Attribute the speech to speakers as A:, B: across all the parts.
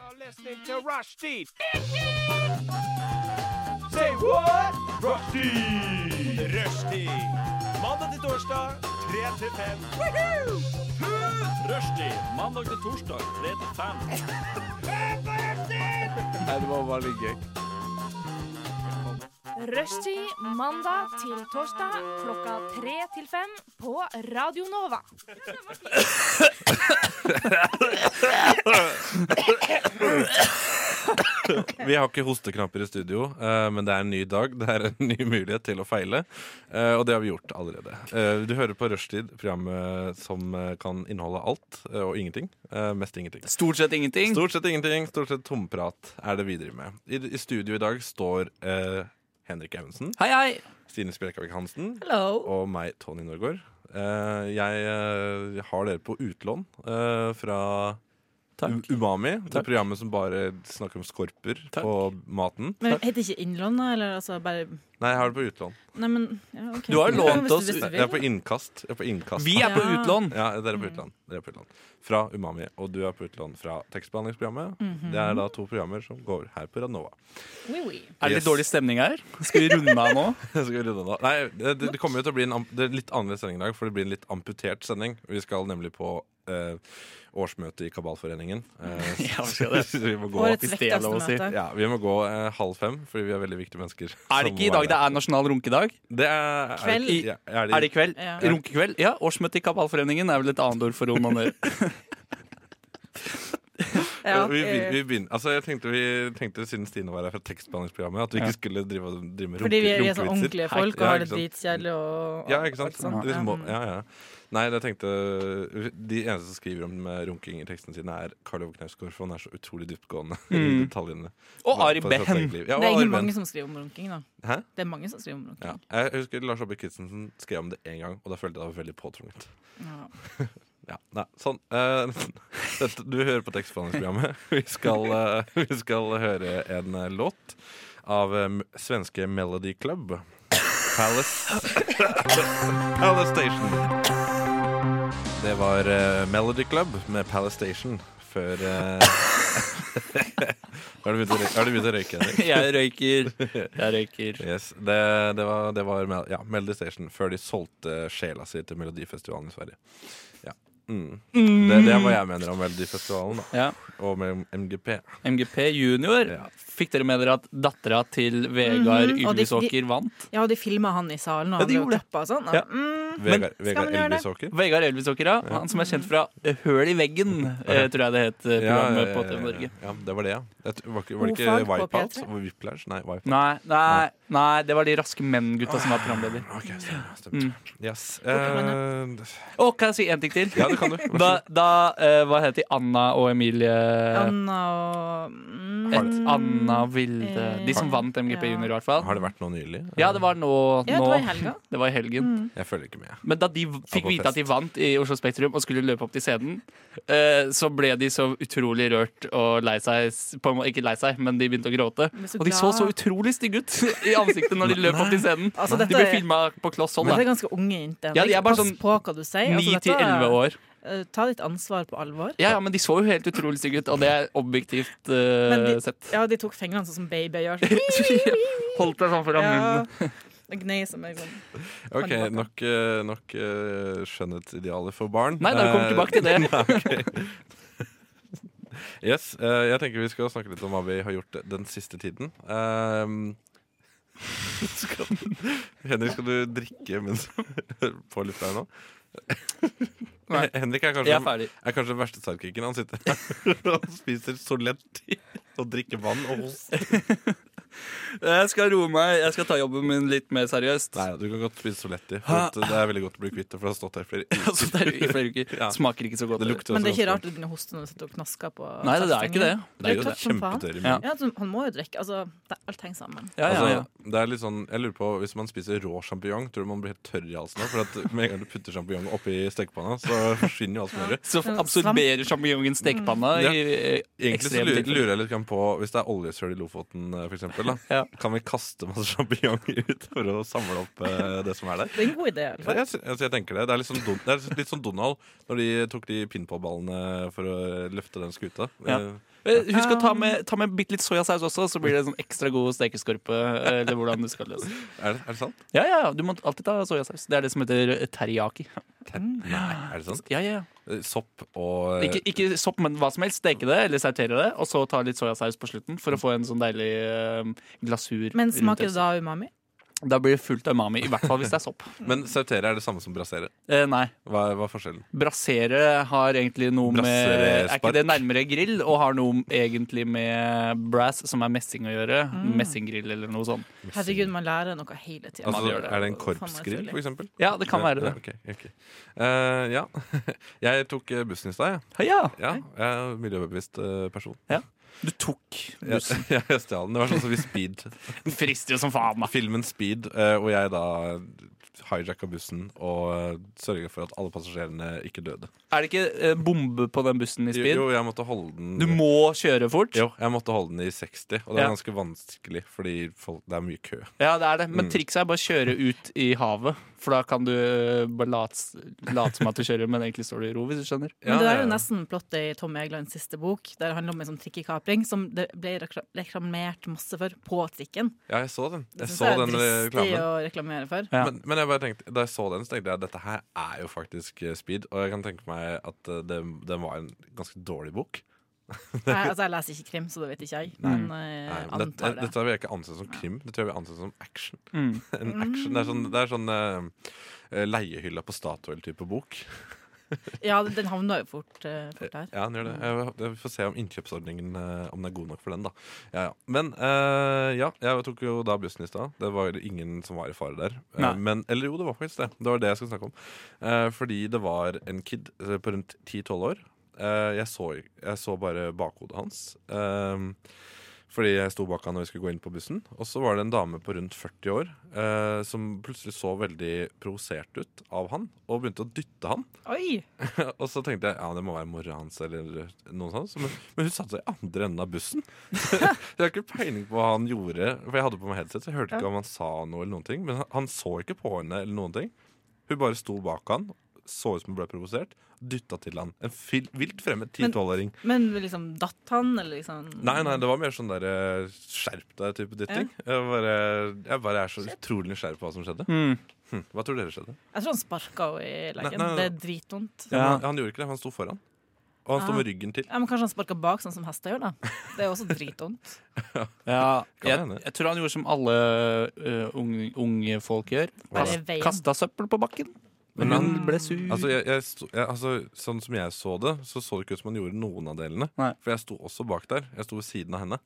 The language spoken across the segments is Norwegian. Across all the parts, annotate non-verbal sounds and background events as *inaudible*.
A: are listening to Rushdie. Say what? Rushdie! Rushdie. Mandag til torsdag, 3 til 5. Rushdie. Mandag til torsdag, 3 til 5.
B: Rushtid mandag til torsdag klokka tre til fem på Radio Nova.
C: Vi har ikke hosteknapper i studio, eh, men det er en ny dag. Det er en ny mulighet til å feile, eh, og det har vi gjort allerede. Eh, Du hører på Rushtid, programmet som eh, kan inneholde alt eh, og ingenting. Eh, Mest ingenting.
D: Stort sett ingenting.
C: Stort sett ingenting, stort sett tomprat er det vi driver med. I, i studio i dag står eh, Henrik Evensen,
D: Hei, hei.
C: Stine Spjelkavik Hansen
E: Hello.
C: og meg, Tony Norgård. Eh, jeg eh, har dere på utlån eh, fra U-
D: Takk.
C: Umami, det
D: Takk.
C: programmet som bare snakker om skorper
D: Takk.
C: og maten.
E: Men heter det ikke innlån, da? Eller altså bare
C: Nei, jeg har det på utlån.
E: Nei, men ja, ok.
D: Du har jo lånt
E: Hvis du-
D: oss-
E: hvis du
C: Nei,
E: vil.
C: jeg er på innkast. Jeg er på innkast.
D: Vi er på
E: Ja. Mm.
D: utlån.
C: ja, dere er på utlån. Dere er på utlån. Fra Umami, og du er på utlån fra tekstbehandlingsprogrammet.
E: Mhm.
C: Det er da to programmer som går her på Radnova.
E: Oui, oui.
D: Er det
C: Yes.
D: litt dårlig stemning her? *laughs* Skal vi runde av nå?
C: Jeg skal runde nå. Nei, det, det kommer jo til å bli en am- det er litt annerledes sending i dag, for det blir en litt amputert sending. Vi skal nemlig på eh, årsmøte i Kabalforeningen. Eh,
D: *laughs* Ja, vi skal det.
C: *laughs* så vi må gå,
E: Årets
D: hvis det er lov å si.
E: vektigste møte.
C: ja, vi må gå eh, halv fem, fordi vi er veldig viktige mennesker.
D: *laughs* Er det ikke i dag det er nasjonal runkedag?
C: Det er, er
E: Kveld.
C: det- ja, er det,
D: Er det i kveld?
E: Ja.
D: Runkekveld? Ja, årsmøte i Kapalforeningen er vel et annet ord for onanere.
E: Ja,
C: vi, vi,
E: eh,
C: vi begynner, altså jeg tenkte, vi tenkte siden Stine var her fra tekstbehandlingsprogrammet, at vi
D: Ja.
C: ikke skulle drive, drive med
E: fordi vi er, vi
C: runke-
E: er sånn
C: runkevitser.
E: ordentlige folk og
C: Ja,
E: har det
C: ikke sant?
E: dritkjedelig og Mm.
C: Ja, ikke sant?
D: sant?
C: Det må,
E: Ja.
C: ja, ja. Nei, jeg tenkte De eneste som skriver om eh, runking i tekstene sine, er Karl Ove Knausgård, for han er så utrolig dyptgående *laughs* i
D: Mm.
C: detaljene.
D: Og Ari
C: På- på sitt
D: Behn.
C: eget liv. Ja,
E: Det er
C: og Ari
E: ikke mange
C: Behn.
E: som skriver om runking, da.
C: Hæ?
E: Det er mange som skriver om runking.
C: Ja. Jeg husker Lars Aabye Christensen skrev om det én gang, og da følte jeg det var veldig påtvunget.
E: Ja.
C: Ja, nei, sånn eh, *laughs* dette, Du hører på tekstbehandlingsprogrammet. *laughs* Vi skal, eh, vi skal høre en eh, låt av eh, m- svenske Melody Club. Palace *laughs* Palace Station. Det var eh, Melody Club med Palace Station før eh, *laughs* Har du begynt å røyke- har du begynt å røyke, Henrik?
D: *laughs* Jeg røyker. Jeg røyker.
C: Yes, det, det var, det var Mel- ja, Melody Station før de solgte sjela si til Melodifestivalen i Sverige. Ja. Mm. Det, det er hva jeg mener om Melodifestivalen da.
D: Ja.
C: og med MGP.
D: MGP junior.
C: Ja.
D: Fikk dere med dere at dattera til Vegard
E: Mhm, og de-
D: Ylvisåker vant?
E: ja, og de filma han i salen, og
D: Ja,
E: han
D: de
E: ble jo
D: gjorde det.
E: klappa og sånn.
D: Ja.
E: da. Mm.
C: Vegard, Vegard
E: man gjøre det?
C: Elvisåker.
D: Vegard Ylvisåker, ja. Han som er kjent fra Høl i veggen, eh, tror jeg det het eh, programmet på TV Norge.
C: ja, det var det, ja. Det var, ikke- var det
E: Ordfag
C: ikke
E: på
C: Wipeout?
E: P3?
C: Whiplash? Nei, Wipeout.
D: Nei, nei, nei, det var de raske menn-gutta som var programleder.
C: Ok, stemmer. stemmer.
D: Mm.
C: Yes. Eh,
D: Å, kan jeg si en ting til?
C: ja, det kan du. Vær så
D: Da,
C: god.
D: da eh, hva heter de? Anna og Emilie
E: Anna og mm,
D: Eh. Et Anna og Vilde De som
E: Eh,
D: vant MGP
E: ja.
D: Junior, i hvert fall.
C: Har det vært noe nylig?
D: Ja, det var nå.
E: Ja, det
D: nå.
E: var i Mm. helga.
D: Det var i helgen.
C: Jeg følger ikke med.
D: Men da de v-
C: Ja, på
D: fikk vite
C: fest.
D: at de vant i Oslo Spektrum og skulle løpe opp til scenen, eh, så ble de så utrolig rørt og lei seg. s- På en måte, ikke lei seg, men de begynte å gråte.
E: ble så
D: Og de så så
E: glad.
D: utrolig stygge ut *laughs* i ansiktet når de løp opp til scenen.
E: Altså,
D: de
E: dette
D: ble
E: er-
D: filma på kloss hold.
E: Men det
D: da.
E: er ganske unge jenter.
D: Ja, de er bare
E: Pass
D: sånn
E: på hva du sier. Altså,
D: 9
E: dette
D: til
E: er-
D: 11 år.
E: eh, Ta ditt ansvar på alvor.
D: Ja, ja, men de så jo helt utrolig stygge ut, og det er objektivt eh,
E: Men de-
D: sett. *laughs*
E: Ja, de tok fingrene sånn som babyer gjør. Sånn.
D: Holdt seg sånn foran
E: Ja.
D: munnen.
E: Og gnei som en sånn.
C: Ok,
E: Kan tilbake.
C: nok, eh, nok eh, skjønnhetsidealer for barn. Eh,
D: Nei, da vi kommer tilbake til
C: *laughs*
D: det.
C: Yes, eh, jeg tenker vi skal snakke litt om hva vi har gjort den siste tiden. Ehm, *laughs* skal, Henrik, skal du drikke mens på lufta her nå?
D: Nei.
C: Henrik
D: Jeg
C: er
D: er
C: kanskje,
D: ferdig.
C: er kanskje den verste sidekicken. Han sitter her *laughs* og spiser Soletti og drikker vann og host.
D: Jeg skal roe meg. Jeg skal ta jobben min litt mer seriøst.
C: Nei, du kan godt spise Soletti. For at det er veldig godt å bli kvitt det, for det har stått her flere
D: *laughs* Altså,
C: uker.
D: det er jo i flere uker.
C: Ja.
D: Smaker ikke så godt.
C: Det lukter
E: Men det er
C: også
E: ikke
C: ganske
E: rart du begynner å hoste når du sitter og knasker på
D: Nei, det er ikke det.
C: Det er jo
E: Det er tørt som faen.
C: kjempetørr i
D: Ja.
C: munnen.
E: Ja, altså, han må jo drikke. Altså, det, alt henger sammen.
D: Ja, ja, ja.
C: Altså, det er litt sånn, jeg lurer på, Hvis man spiser rå sjampinjong, tror du man blir helt tørr i halsen? av? For at Med en gang du putter sjampinjong oppi stekepanna,
D: *laughs*
C: så forsvinner jo alt smøret.
D: Så absorberer sjampinjongen stekepanna
C: Ja.
D: i eh,
C: Egentlig så
D: ekstreme
C: lurer,
D: tilfeller.
C: lurer jeg litt grann på, Hvis det er oljesøl i Lofoten, eh, for eksempel, da,
D: Ja.
C: kan vi kaste masse sjampinjong *laughs* ut for å samle opp eh, det som er der?
E: Det er en god idé. i hvert fall.
C: Jeg, sy- altså, jeg tenker Det Det er litt sånn, Don, det er litt sånn Donald når de tok de pinballballene for å løfte den skuta.
D: Ja.
C: Eh,
D: Eh, Husk å ta
E: Um.
D: med, ta med bitte litt soyasaus også, så blir det en sånn ekstra god stekeskorpe. eh, Eller hvordan du skal *laughs* løse det.
C: Er det, er det sant?
D: Ja, ja, ja, du må alltid ta soyasaus. Det er det som heter teriyaki.
C: Nei, er det sant?
D: Ja, ja, ja.
C: Eh, Sopp og eh,
D: Ikke, ikke sopp, men hva som helst. Steke det eller sautere det, og så ta litt soyasaus på slutten for å få en sånn deilig eh, glasur.
E: Men
D: rundt
E: smaker
D: det.
E: det da umami?
D: Da blir det fullt av umami. I hvert fall hvis det er sopp. *laughs*
C: Men sautere er det samme som brassere.
D: Eh, nei.
C: Hva, hva er forskjellen?
D: Brassere har egentlig noe med
C: Brassere
D: Er
C: spark.
D: ikke det nærmere grill? Og har noe egentlig med brass, som er messing, å gjøre. Messinggrill eller noe sånt.
E: Herregud, man lærer noe hele tida.
C: Altså,
D: gjør det.
C: er det en
E: Faen meg
C: korpsgrill,
E: utrolig.
C: for eksempel?
D: Ja, det kan være det.
C: Ja, ok, ok. Eh, ja. *laughs* jeg tok eh, bussen i stad, jeg.
D: Ja,
C: Ja, jeg er en miljøbevisst eh, person.
D: Du tok
C: Jeg,
D: bussen.
C: *laughs*
D: *laughs*
C: jeg stjal den. Det var sånn som i Speed.
D: Den frister jo som faen, da.
C: Filmen Speed, eh, hvor jeg da hijacka bussen og eh, sørga for at alle passasjerene ikke døde.
D: Er det ikke eh, bombe på den bussen i
C: Jo,
D: speed?
C: jo, jeg måtte holde den
D: Du må kjøre fort.
C: Jo, jeg måtte holde den i 60, og det er
D: Ja.
C: ganske vanskelig, fordi folk, det er mye kø.
D: Ja, det er det. Men
C: Mm.
D: trikset er bare å kjøre ut i havet. For da kan du eh, bare late late som at du kjører, men egentlig står du i ro, hvis du skjønner.
E: Men det
C: Ja,
E: der er jo
C: ja.
E: nesten plottet i Tom Egelands siste bok, der det handler om en sånn trikkekapring som det ble rekla- reklamert masse for på trikken.
C: Ja, jeg så den. Jeg
E: synes
C: så den
E: dristig
C: reklamen.
E: å
C: *laughs*
E: reklamere for.
D: Ja.
C: Men, men jeg bare tenkte, da jeg så den, så tenkte jeg at dette her er jo faktisk eh, Speed. Og jeg kan tenke meg at eh, det, den var en ganske dårlig bok.
E: Jeg, altså, jeg leser ikke krim, så det vet ikke jeg, men eh,
C: Mm. Nei, men dette,
E: antar det.
C: dette vil jeg ikke anse som krim. Det tror jeg vil anse som action.
D: Mm.
C: *laughs* En action, Det er sånn, det er sånn eh, eh, leiehylla på Statoil-type bok.
E: Ja, den havna jo fort, eh, fort der.
C: Ja, den gjør det. Jeg, jeg får se om innkjøpsordningen eh, Om den er god nok for den, da. Ja, ja. Men eh, ja, jeg tok jo da bussen i stad. Det var ingen som var i fare der. Eh,
D: Nei.
C: men, eller jo, det var faktisk det. Det var det jeg skulle snakke om. Eh, fordi det var en kid eh, på rundt 10-12 år. Eh, jeg, så, jeg så bare bakhodet hans. Eh, fordi jeg sto bak han når vi skulle gå inn på bussen. Og så var det en dame på rundt 40 år eh, som plutselig så veldig provosert ut av han, og begynte å dytte han.
E: Oi!
C: Og så tenkte jeg ja, det må være mora hans eller noe sånt. Men, men hun satte seg i andre enden av bussen. *laughs* jeg har ikke peiling på hva han gjorde, for jeg hadde på meg headset, så jeg hørte ikke om han sa noe eller noen ting. Men han, han så ikke på henne eller noen ting. Hun bare sto bak han, så ut som hun ble provosert, dytta til han. En fil, vilt fremmed
E: Men-
C: 10-12-åring.
E: Men liksom datt han, eller liksom
C: Nei, nei, det var mer sånn der eh, skjerp deg-type dytting. Jeg, bare, jeg bare er så utrolig nysgjerrig på hva som skjedde.
D: Mm.
C: Hm, hva tror dere skjedde?
E: Jeg tror han sparka henne i leggen.
C: Nei, nei, nei.
E: Det er dritvondt.
D: Ja.
C: Han, han gjorde ikke det, han sto foran. Og han sto
E: Ah.
C: med ryggen til.
E: Ja, men Kanskje han sparka bak, sånn som hester gjør. da Det er også dritvondt.
D: Ja,
C: Kan
D: jeg,
C: hende.
D: jeg tror han gjorde som alle ø, unge, unge folk gjør.
E: Bare
D: Kast-
E: i veien.
D: Kasta søppel på bakken. Men hun ble sur.
C: Altså, jeg, jeg sto, jeg, altså, sånn som jeg så det, så så det ikke ut som han gjorde noen av delene.
D: Nei.
C: For jeg sto også bak der. Jeg sto ved siden av henne.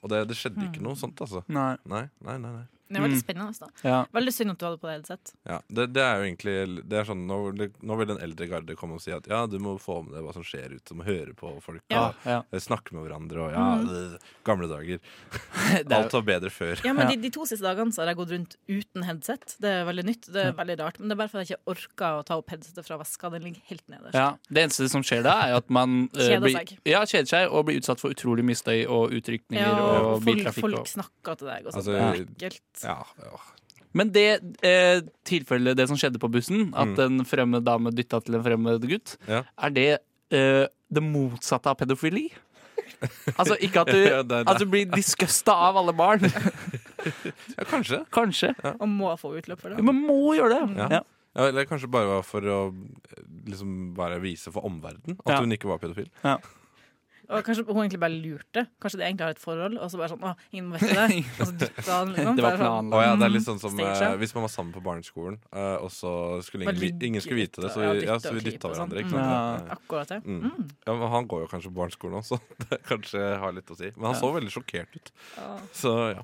C: Og det, det skjedde
D: Mm.
C: ikke noe sånt, altså.
D: Nei.
C: Nei, nei, nei. nei.
E: Det er veldig
D: Mm.
E: spennende. da
D: Ja.
E: Veldig synd at du hadde på det headset.
C: Ja, det, det er jo egentlig det er sånn, nå, nå vil den eldre garde komme og si at ja, du må få med deg hva som skjer ute. Du må høre på folk.
E: Ja.
C: Og,
D: Ja. Mm.
C: eh, Snakke med hverandre og ja, øh, gamle dager.
D: *laughs* Det er,
C: Alt var bedre før.
E: Ja, men
D: Ja.
E: de, de to siste dagene så har jeg gått rundt uten headset. Det er veldig nytt. Det er veldig rart. Men det er bare fordi jeg ikke orker å ta opp headsetet fra veska. Den ligger helt nederst.
D: ja. Det eneste som skjer da, er at man ø,
E: Kjeder
D: blir,
E: seg.
D: ja, kjeder seg og blir utsatt for utrolig mye støy og utrykninger
E: Ja,
D: og,
E: og folk,
D: biltrafikk.
E: folk
D: og-
E: snakker til deg og sånn.
C: Altså,
E: det er ekkelt.
C: Ja, ja.
D: Men det eh, tilfellet, det som skjedde på bussen, at en fremmed dame dytta til en fremmed gutt,
C: Mm. Ja.
D: er det eh, det motsatte av
C: *laughs*
D: pedofili? altså ikke at du,
C: Ja, det er det.
D: at du blir disgusta av alle
C: *laughs*
D: barn.
C: ja kanskje.
D: Kanskje.
E: Og må få utløp for
D: Ja,
E: det.
D: Man må gjøre det.
C: Ja.
D: Ja.
C: Ja, eller kanskje bare var for å eh, liksom, bare vise for omverdenen at
D: Ja.
C: hun ikke var pedofil.
E: Og kanskje hun egentlig bare lurte. Kanskje de egentlig har et forhold, og så bare sånn Å,
D: *laughs*
E: ingen må vite det. Og så dytta han, liksom.
D: Det var
E: Bare sånn,
C: Å
D: planlagt.
C: ja, det er litt sånn som
E: Stage,
C: eh,
E: ja.
C: Hvis man var sammen på barneskolen, eh, og så skulle ingen,
E: Bare
C: vi- ingen skulle vite det, så vi,
E: dytte,
C: ja,
E: ja,
C: så vi
E: dytte
C: dytta
E: og klype og
C: hverandre. Ikke
E: sånn.
C: sant?
D: Ja.
C: Ja, ja.
E: Akkurat det.
C: Mm. Ja, men han går jo kanskje på barneskolen også, *laughs* så det kanskje har litt å si. Men han så veldig sjokkert ut.
E: Ja.
C: Så ja.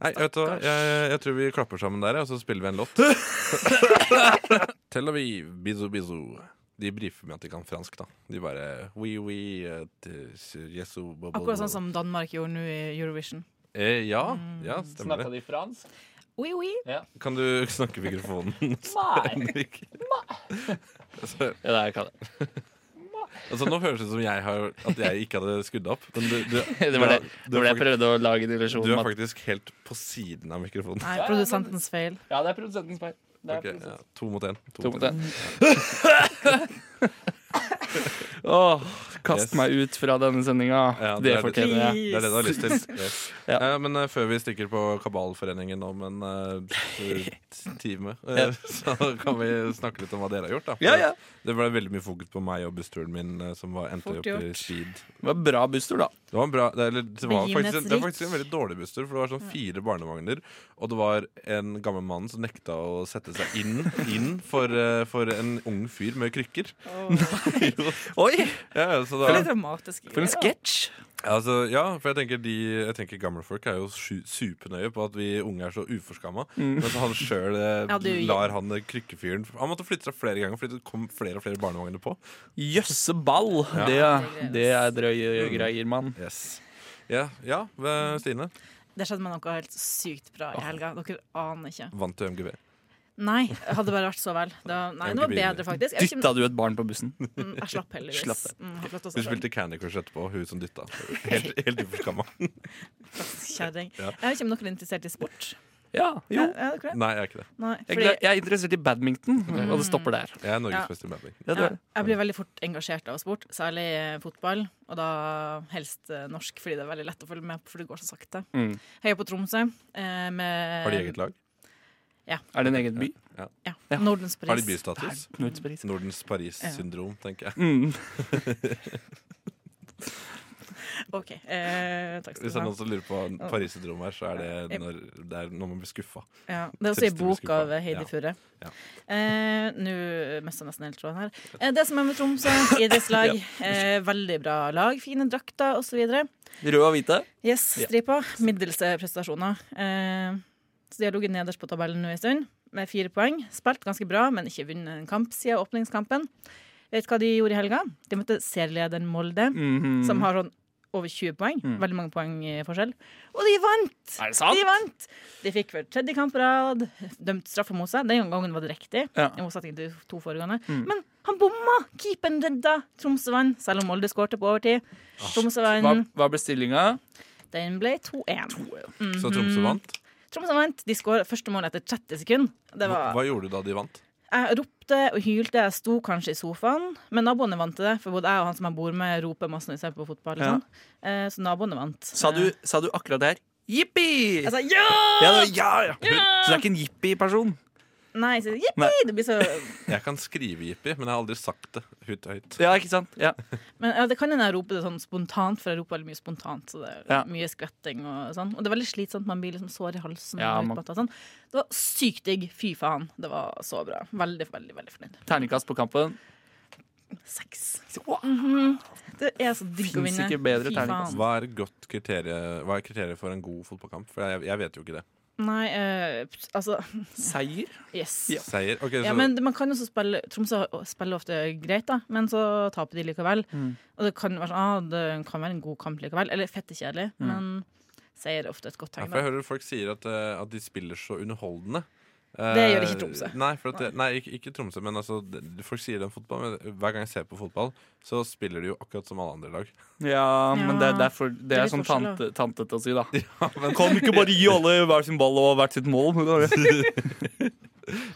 C: Nei, vet du hva? Jeg, jeg tror vi klapper sammen der, ja, og så spiller vi en låt.
E: *laughs*
C: Tel Aviv, bizu bizu. De brifer med at de kan fransk, da. De bare oui, oui, eh, t- jesu, bo, bo,
D: Mm.
C: bo.
E: Akkurat sånn som Mm. Danmark gjorde nå i Eurovision.
C: eh, Ja, ja stemmer det.
D: de fransk?
E: Oui, oui.
C: Kan du snakke i mikrofonen?
D: *laughs*
C: *laughs*
D: Nei.
C: Henrik? Altså,
D: Ja, det kan jeg.
C: Altså, nå høres det ut som jeg har, at jeg ikke hadde skudd opp. Men du, du,
D: *laughs* Det var det, det var
C: du,
D: det
C: er
D: jeg prøvde å lage en illusjon
C: fakt- du
D: om.
C: er
D: at-
C: faktisk helt på siden av mikrofonen.
E: Nei, produsentens feil.
D: Ja, det er produsentens feil. Det er
C: *laughs* Ok,
D: produsentens
C: ja, to mot én.
D: To mot en. *laughs* Åh, Kast
C: Yes.
D: meg ut fra denne sendinga.
C: Ja,
D: det
C: det er-
D: fortjener jeg.
C: Det er det du har lyst til. Yes.
D: *laughs* Ja.
C: Eh, men eh, før vi stikker på Kabalforeningen om en eh, t-
D: *laughs*
C: time, eh, *laughs*
D: Ja.
C: så kan vi snakke litt om hva dere har gjort. Da. For
D: Ja, ja.
C: Det ble veldig mye fokus på meg og bussturen min, eh, som var, endte
E: Fort
C: opp i
E: gjort.
C: speed.
D: Det var bra *laughs* busstur, da.
C: Det var, en bra, det, eller, det var,
E: Begivenhetsrikt.
C: faktisk, en, det var faktisk en veldig dårlig busstur, for det var sånn fire barnevogner, og det var en gammel mann som nekta å sette seg inn, inn for, eh, for en ung fyr med krykker. Jo.
D: Oi!
C: ja, ja, så da,
E: Det er litt dramatisk.
D: For en sketsj!
C: Altså, ja, for jeg tenker, de, jeg tenker gamle folk er jo su- supernøye på at vi unge er så uforskamma. Mens han sjøl
E: Mm. Ja, du-
C: lar han eh, krykkefyren Han måtte flytte seg flere ganger fordi det kom flere og flere barnevogner på.
D: Jøsse ball! Det, det er drøye greier, mann.
C: Yes Ja, ja eh, Stine.
E: Det skjedde meg noe helt sykt bra i helga. Dere aner ikke.
C: Vant til MGB.
E: Nei, jeg hadde bare vært så vel. Det var, nei, det var bedre, faktisk. Jeg, vet ikke
D: Dytta du et barn på bussen?
E: om- jeg slapp heldigvis.
D: Slapp det.
E: Mm, jeg slapp også
C: Hun
E: selv.
C: spilte Candy Crush etterpå, hun som dytta. Helt, helt uforskamma.
E: Kjerring.
C: Ja.
E: Jeg vet ikke om dere er interessert i sport?
D: Ja, jo.
E: Er- Er dere det?
C: Nei, jeg er ikke det.
E: Nei.
D: Jeg,
E: Fordi
D: er glad- jeg er interessert i badminton, og det stopper der.
C: Jeg er Norges
E: Ja.
C: beste baby.
D: Ja, det
E: ja,
D: er det.
E: jeg blir veldig fort engasjert av sport, særlig eh, fotball. Og da helst eh, norsk, fordi det er veldig lett å følge med på, for det går så sakte.
D: Mm.
E: Heier på Tromsø. Eh, med,
C: Har de eget lag?
D: Er det en egen by?
E: Ja,
D: Ja.
E: Nordens
C: Har de
E: Paris.
D: Det er
C: bystatus?
D: Knutsberg.
C: Nordens Paris-syndrom, tenker jeg.
D: Mm.
E: Ok, eh, takk skal
C: Hvis det er
E: du
C: noen
E: ha.
C: som lurer på Paris-syndrom her, så er det når, det er når man blir skuffa.
E: Ja, det er også i
C: Triste
E: bok
C: beskrivelser.
E: av Heidi
C: Ja.
E: Furre.
C: Ja.
E: Eh, Nå mista nesten helt tråden her. Eh, det som er med Tromsø,
C: *laughs*
E: idrettslag. eh, veldig bra lag, fine drakter osv.
D: Rød og hvite?
E: Yes,
D: Ja.
E: stripa. Middels eh, prestasjoner. Eh, så de har ligget nederst på tabellen nå en stund, med fire poeng. Spilt ganske bra, men ikke vunnet en kamp siden åpningskampen. Vet du hva de gjorde i helga? De møtte serielederen Molde,
D: Mhm.
E: som har sånn over 20 poeng.
C: Mm.
E: Veldig mange poeng i forskjell. Og de vant!
D: Er det sant?
E: De vant! De fikk for tredje kamp på rad, dømt straffe mot seg. Den gangen var det riktig,
D: Ja. Mm.
E: i motsetning til de to foregående. Men han bomma! Keeperen redda. Tromsø vant, selv om Molde skårte på overtid. Tromsø
D: Ah, Hva,
E: vant.
D: hva ble stillinga?
E: Den ble 2-1.
C: Så Tromsø vant.
E: Tromsø vant. De skåra første mål etter 30 sekunder. Det var,
C: Hva gjorde du da de vant?
E: jeg ropte og hylte. Jeg sto kanskje i sofaen, men naboene vant til det. For både jeg og han som jeg bor med, roper masse når vi ser på fotball. og
D: Ja.
E: Sånn. Eh, så naboene vant.
D: Sa du,
E: Eh,
D: sa du akkurat det her? Jippi!
E: Jeg sa ja!
D: Ja, det var- ja, Altså, ja. Så du er ikke en jippi-person?
E: Nei, jeg sa
D: Nei.
E: jippi! Det blir så
C: Jeg kan skrive jippi, men jeg har aldri sagt det høyt. høyt.
D: Ja, ikke sant? Ja.
E: Men ja, det kan hende jeg roper det sånn spontant, for jeg roper veldig mye spontant. Så det er
D: Ja.
E: mye skvetting og sånn. Og det er veldig slitsomt. Man blir liksom sår i halsen.
D: Ja,
E: og
D: man-
E: utmattet og sånn. Det var sykt digg. Fy faen. Det var så bra. Veldig, veldig, veldig fornøyd.
D: Terningkast på kampen.
E: Seks.
D: Wow.
E: Det er så digg å
D: Finnes
E: vinne.
D: ikke bedre
E: Fy
D: terningkast.
E: faen.
C: Hva er et godt kriterie, hva er kriteriet for en god fotballkamp? For jeg, jeg vet jo ikke det.
E: Nei, eh, p- altså
D: Seier?
E: Yes.
D: Ja.
E: Ja.
C: Seier. Ok, så
E: men man kan jo også spille Tromsø spiller ofte greit, da, men så taper de likevel.
D: Mm.
E: Og det kan, være, sånn, ah, det kan være en god kamp likevel. Eller fette kjedelig,
D: Mm.
E: men seier er ofte et godt
C: ja,
E: tegn.
C: for jeg
E: Da.
C: hører folk sier at, eh, at de spiller så underholdende.
E: Det gjør
C: Eh,
E: ikke Tromsø.
C: Nei, for at det, nei ikke, ikke Tromsø, men altså, det- folk sier det om fotball. Men hver gang jeg ser på fotball, så spiller de jo akkurat som alle andre lag. *laughs*
D: Ja, men det er derfor Det er
E: litt
D: sånn
E: forskjell,
D: tante, tantete å si, *laughs* da. Kan ikke bare gi alle hver sin ball og hvert sitt mål?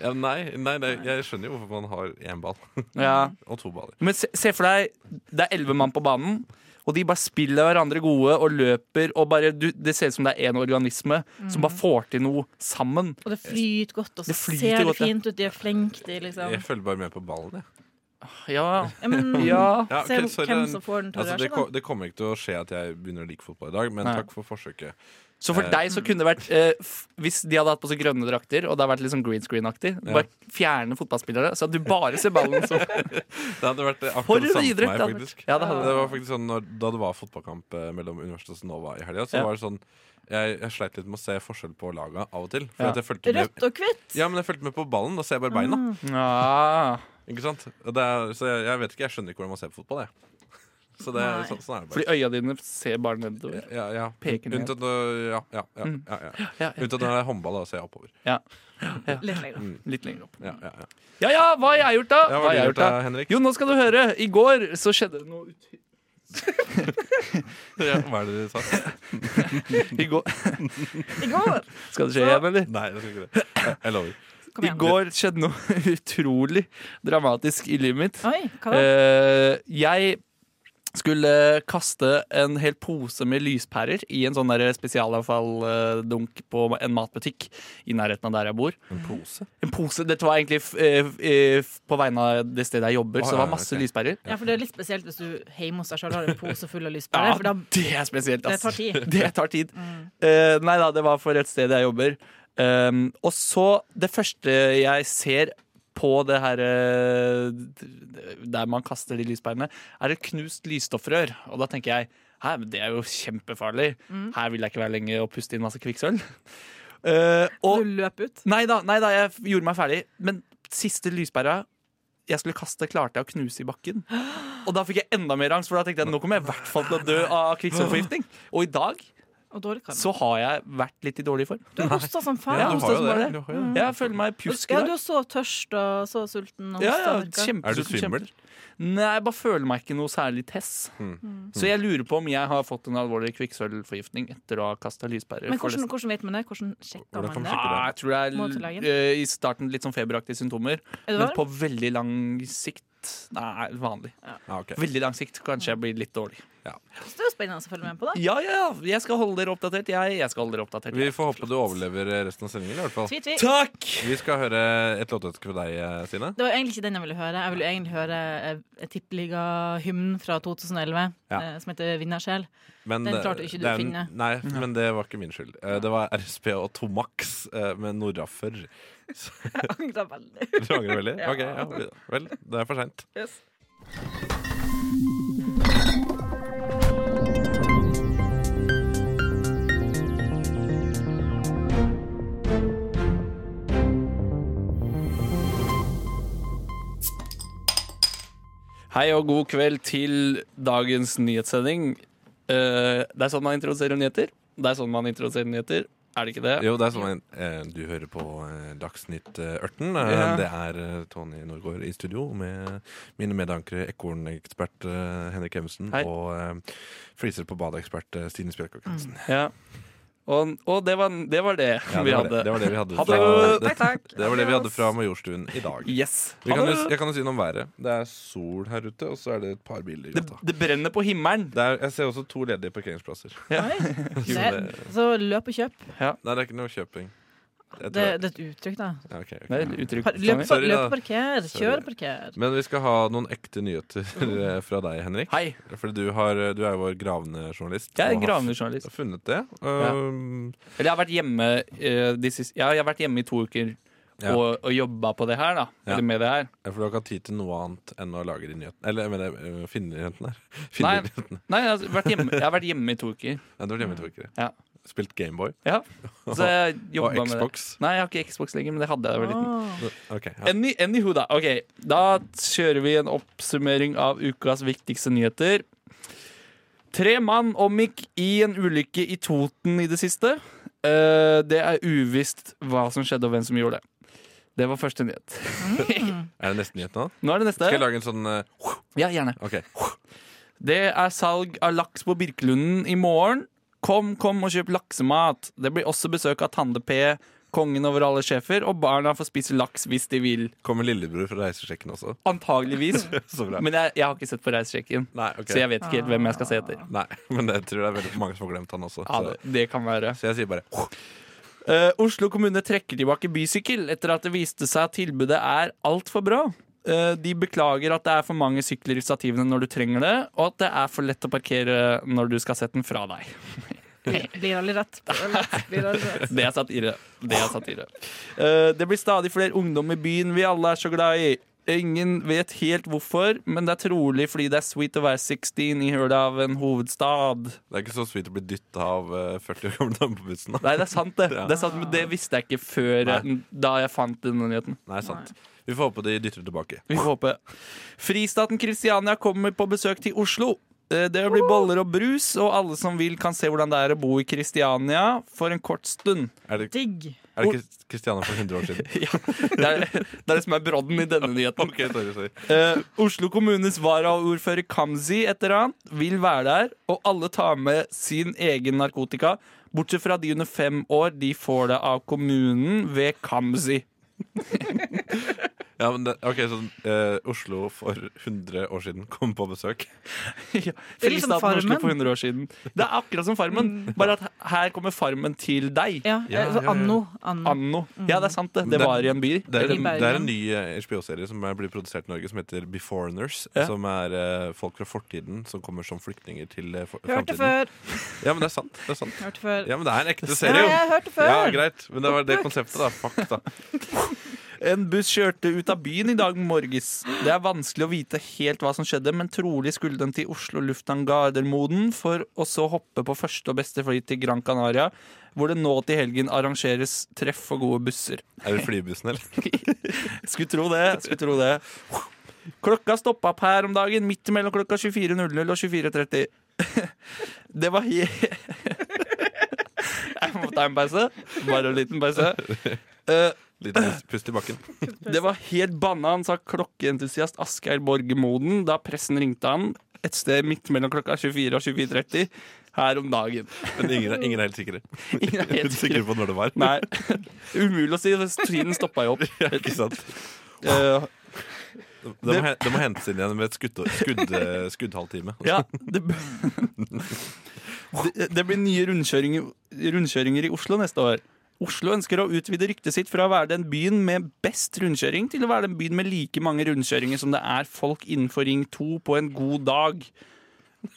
C: Ja, nei, nei, nei, jeg skjønner jo hvorfor man har én ball
D: *laughs*
C: *laughs*
D: Ja.
C: og to baller.
D: Men se, se for deg, det er elleve mann på banen, og de bare spiller hverandre gode og løper. Og bare, du, det ser ut som det er én organisme som bare får til noe sammen.
E: Og det flyter godt, og så
D: Det flyter
E: ser det
D: godt, ja.
E: fint ut. De er flinke, de, liksom.
C: Jeg følger bare med på ballen, jeg.
D: Ja,
E: Ja, men
D: ja.
C: *laughs* Ja,
E: se
C: ok, sorry,
E: hvem
C: den-
E: som får den til å
C: altså,
E: røre
C: det,
E: seg, da.
C: ko- det kommer ikke til å skje at jeg begynner å like fotball i dag, men
D: Nei.
C: takk for forsøket.
D: Så for
C: Eh.
D: deg så kunne det vært eh, f- Hvis de hadde hatt på seg grønne drakter, og det hadde vært litt sånn green screen-aktig, bare fjerne fotballspillere, så at du bare ser ballen *laughs* som
C: Det hadde vært akkurat
D: For
C: for
D: en
C: samme for
D: idrett,
C: meg,
D: da.
C: faktisk.
D: Ja, det hadde det.
C: Det var faktisk sånn, når, Da det var fotballkamp eh, mellom Universitetet og Nova i helga, så
D: Ja.
C: var det sånn jeg, jeg sleit litt med å se forskjell på laga av og til. For
D: Ja.
C: at jeg fulgte med
E: Rødt og hvitt!
C: ja, men jeg fulgte med på ballen. Da ser jeg bare beina.
D: Mm. Ja.
C: Ikke sant? Og Det er, så jeg, jeg vet ikke, jeg skjønner ikke hvordan man ser på fotball. Jeg. *laughs* Så det,
E: Nei.
C: så, sånn er det bare.
D: Fordi øya dine ser bare nedover.
C: ja, ja.
D: Peker ned.
C: Unntatt når- ja, ja, ja, ja, ja.
D: Ja, ja,
C: Unntatt når det er håndball, da ser jeg oppover.
E: Litt lenger.
D: litt lenger opp.
C: Ja, ja, ja.
D: Ja ja, hva har jeg gjort, da?
C: Ja, hva
D: Hva har
C: har du
D: jeg
C: gjort da, Henrik?
D: Jo, nå skal du høre. I går så skjedde det noe ut...
C: *laughs* *laughs* Ja, Hva er det du sa?
D: I går
E: I går!
D: Skal det skje igjen, eller?
C: Nei, jeg skal ikke det. Jeg, jeg lover.
E: Kom
D: I
E: igjen.
D: går skjedde noe *laughs*
C: Eh,
D: utrolig dramatisk i livet mitt.
E: Oi, hva da?
D: Eh, jeg skulle kaste en hel pose med lyspærer i en sånn der spesialavfalldunk på en matbutikk i nærheten av der jeg bor.
C: En pose?
D: En pose, Dette var egentlig f eh, f eh, f på vegne av det stedet jeg jobber,
C: Å,
D: så det
C: ja,
D: var masse
C: ok.
D: lyspærer.
E: Ja, for det er litt spesielt hvis du hjemme hos deg selv har en pose full av lyspærer.
D: Ja,
E: For da
D: det er spesielt,
E: det
D: ass.
E: tar tid.
D: *laughs*
E: Mm.
D: Det tar tid. Eh, nei da, det var for et sted jeg jobber. Um, og så det første jeg ser på det her eh, der man kaster de lyspærene, er et knust lysstoffrør. Og da tenker jeg Hæ, men det er jo kjempefarlig.
E: Mm.
D: Her vil jeg ikke være lenge og puste inn masse kvikksølv. *laughs* Eh, og
E: Du løper ut.
D: Nei da, nei da, jeg f- gjorde meg ferdig. Men siste lyspæra jeg skulle kaste, klarte jeg å knuse i bakken. Og da fikk jeg enda mer angst, for da tenkte jeg nå kommer jeg i hvert fall til å dø av kvikksølvforgiftning. Og i dag
E: Og dårlig kan
D: så har jeg vært litt i dårlig form.
E: Du hosta som faen.
D: Ja,
C: du
D: hostet
C: har jo
D: som bare
C: det.
D: det.
C: Du har jo det.
D: Jeg føler meg pjusk i
E: Ja, du
D: dag.
E: er så tørst og så sulten. Og
D: Ja, ja,
E: hoster, virker det.
D: kjempe-
C: Er du svimmel? Hmm.
D: kjempe- Nei, jeg bare føler meg ikke noe særlig tess.
E: Mm.
D: Så jeg lurer på om jeg har fått en alvorlig kvikksølvforgiftning etter å ha kasta lyspærer.
E: Men
D: for
E: hvordan,
D: resten-
E: hvordan vet man det? Hvordan sjekker
C: Hvordan kan
E: man det?
C: man sjekke?
D: Ja, jeg tror det er
E: Må til
D: l-
E: legen.
D: eh, i starten litt sånn feberaktige symptomer.
E: Er det
D: Men
E: varm?
D: på veldig lang sikt Nei, vanlig.
C: Ja, Ah, ok.
D: Veldig lang sikt kanskje jeg blir litt dårlig.
E: Så Det er jo spennende å følge med på, da.
D: *laughs* Ja, ja, ja, jeg skal holde dere oppdatert. Jeg, jeg skal holde dere oppdatert.
C: Vi får håpe du overlever resten av sendingen. i hvert fall
E: Tvi, tvi.
D: Takk!
C: Vi skal høre et låtønske fra deg, eh, Stine.
E: Det var egentlig ikke den jeg ville høre. Jeg ville egentlig høre eh, tippeligahymnen fra 2011
C: Ja.
E: eh, som heter
C: *laughs*
E: 'Vinnersjel'.
C: Men,
E: Den
C: eh,
E: klarte ikke du
C: det er
E: å
C: en-
E: finne.
C: Nei, men det var ikke min skyld. Eh, Det var RSP og Tomax eh, med
E: *laughs*
C: Nordafor.
E: Jeg angrer veldig.
C: Du angrer veldig? Ok, ja. Vel, det er for seint.
D: Hei og god kveld til dagens nyhetssending. Eh, det er sånn man introduserer nyheter. Det er sånn man introduserer nyheter. Er det ikke det?
C: Jo, det er sånn eh, Du hører på eh, Dagsnytt eh, 18. Eh,
D: Ja.
C: Det er eh, Tony Norgård i studio med mine medankere ekornekspert eh, Henrik Evensen
D: Hei.
C: og eh, fliser på badeekspert eh, Stine Spjelkåk
E: Mm.
C: Hansen.
D: Ja. Og, og det, var, det var det
C: Ja,
D: vi
C: det, var
D: hadde.
C: det, det var det vi hadde
D: Ha det.
C: fra,
D: Takk,
C: det, det var det vi hadde fra Majorstuen i dag.
D: Yes.
C: Vi kan,
D: Ha
C: jo-
D: det.
C: jeg kan jo si noe om været. Det er sol her ute, og så er det et par biler i
D: Det,
C: gata.
D: det brenner på himmelen.
C: Det er, jeg ser også to ledige parkeringsplasser.
E: Det- Så løp og kjøp.
C: Nei, det er ikke noe kjøping. Jeg
E: Det,
C: tror,
E: det er et uttrykk, da.
C: ja, ok, ok.
D: Det er et uttrykk.
E: Par- Løp,
C: Sorry,
E: løp
C: da.
E: og parker.
C: Sorry.
E: Kjør og parker.
C: Men vi skal ha noen ekte nyheter eh, fra deg, Henrik.
D: Hei.
C: For du, har, eh, du er vår gravende journalist.
D: Jeg er en
C: og har
D: gravende
C: f-
D: journalist.
C: funnet det. Um,
D: Eller jeg har vært hjemme, eh, de siste, ja, jeg har vært hjemme i to uker
C: Ja.
D: og, og jobba på det her, da.
C: Ja.
D: Eller med det her.
C: For du har ikke hatt tid til noe annet enn å lage de nyhetene. Eller jeg mener, eh, finne nyhetene her. *laughs* Finne
D: Nei,
C: nyhetene.
D: nei jeg, har vært hjemme, jeg har vært hjemme i to uker.
C: Ja, du har hjemme i to uker.
D: Ja.
C: Spilt Gameboy
D: Ja. Så jeg
C: *laughs* og
D: jobba med det.
C: Xbox. Ah.
D: Nei, jeg har ikke Xbox lenger, men det hadde jeg da jeg var liten.
C: *laughs*
E: Åh.
C: Ok, ja.
D: Any, anywho, da. Ok, da kjører vi en oppsummering av ukas viktigste nyheter. Tre mann omgikk i en ulykke i Toten i det siste. Eh, det er uvisst hva som skjedde, og hvem som gjorde det. Det var første nyhet.
C: Er det neste nyhet nå?
D: Nå er det neste.
C: Skal jeg lage en sånn eh,
D: Ja, gjerne.
C: OK.
D: Det er salg av laks på Birkelunden i morgen. Kom, kom og kjøp laksemat. Det blir også besøk av Tande P, kongen over alle sjefer, og barna får spise laks hvis de vil.
C: Kommer lillebror fra reisesjekken også? *laughs*
D: Antageligvis.
C: Så bra.
D: Men jeg, jeg har ikke sett på reisesjekken,
C: Nei, ok.
D: så jeg vet ikke helt hvem jeg skal se etter.
C: Nei, *laughs* men jeg tror det er veldig mange som har glemt han også.
D: Ja, det,
C: Så,
D: det kan være.
C: så jeg sier bare
D: Eh, Oslo kommune trekker tilbake bysykkel etter at det viste seg at tilbudet er altfor bra. Eh, de beklager at det er for mange sykler i stativene når du trenger det, og at det er for lett å parkere når du skal sette den fra deg.
E: Blir blir aldri rett. Blir aldri rett. Blir aldri rett.
D: Det er satire. Det er satire. *laughs* Eh, det blir stadig flere ungdom i byen vi alle er så glad i. Ingen vet helt hvorfor, men det er trolig fordi det er sweet å være 16 i hølet av en hovedstad.
C: Det er ikke så sweet å bli dytta av eh, 40 år gamle damer på bussen. Da.
D: Nei, det er sant, *laughs* det.
C: Ja.
D: Det, er sant, men det visste jeg ikke før eh, da jeg fant denne nyheten.
C: Nei, sant. Vi får håpe de dytter tilbake.
D: Vi får håpe. Fristaten Kristiania kommer på besøk til Oslo. Eh, Det blir boller og brus, og alle som vil kan se hvordan det er å bo i Kristiania for en kort stund.
C: Er det,
E: Digg.
C: er det Kris- Kristiania for 100 år siden?
D: *laughs* Ja, det, er, det er det som er brodden i denne nyheten.
C: Ok, sorry, sorry.
D: Eh, Oslo kommunes varaordfører Kamzy etter han vil være der, og alle tar med sin egen narkotika, bortsett fra de under fem år. De får det av kommunen ved Kamzy.
C: Ja, men det, ok, så eh, Oslo for 100 år siden kom på besøk.
D: Ja,
E: Det er litt som
D: Fristaten Oslo
E: Farmen. Mm.
D: for 100 år siden. Det er akkurat som Farmen, bare at her kommer Farmen til deg.
E: Ja, Mm.
C: Ja,
E: altså
C: ja, ja.
E: anno. anno.
D: Anno. Ja, det er sant, det. Det
C: Det-
D: var i en by.
C: Det er,
E: I
C: en,
E: Bergen.
C: det er en ny eh, HBO-serie som er- blir produsert i Norge, som heter Beforeigners.
D: Ja.
C: Som er eh, folk fra fortiden som kommer som flyktninger til eh, for,
E: Hørt det
C: framtiden.
E: før.
C: Ja, men det er sant. det er sant
E: Hørt det før.
C: Ja, men det er en ekte
E: Nei,
C: serie, jo.
E: jeg hørte før.
C: Ja, greit. Men det var det konseptet, da. Fuck, da.
D: En buss kjørte ut av byen i dag morges. Det er vanskelig å vite helt hva som skjedde, men trolig skulle den til Oslo lufthavn Gardermoden for å så hoppe på første og beste fly til Gran Canaria, hvor det nå til helgen arrangeres treff for gode busser.
C: Er det flybussen, eller?
D: Skulle tro det. skulle tro det Klokka stoppa opp her om dagen, midt mellom klokka 24.00 og 24.30. *laughs* Det var he... *laughs* Jeg må ta en pause. Bare en liten pause. Eh,
C: Litt pust- pust i bakken.
D: det var helt banna, han sa klokkeentusiast Asgeir Borge Moden da pressen ringte han et sted midt mellom klokka 24 og 24.30 her om dagen.
C: Men ingen, er- ingen er helt sikre.
D: Ingen er helt sikre.
C: på når det var. *laughs*
D: Nei. *laughs* Umulig å si. Tiden stoppa jo opp.
C: Ikke sant?
D: Eh,
C: Det må, he- det må hentes inn igjen med et skudd, skudd, eh, skuddhalvtime.
D: Ja, det, b- *laughs* det, det blir nye rundkjøringer, rundkjøringer i Oslo neste år. Oslo ønsker å utvide ryktet sitt fra å være den byen med best rundkjøring til å være den byen med like mange rundkjøringer som det er folk innenfor Ring 2 på en god dag.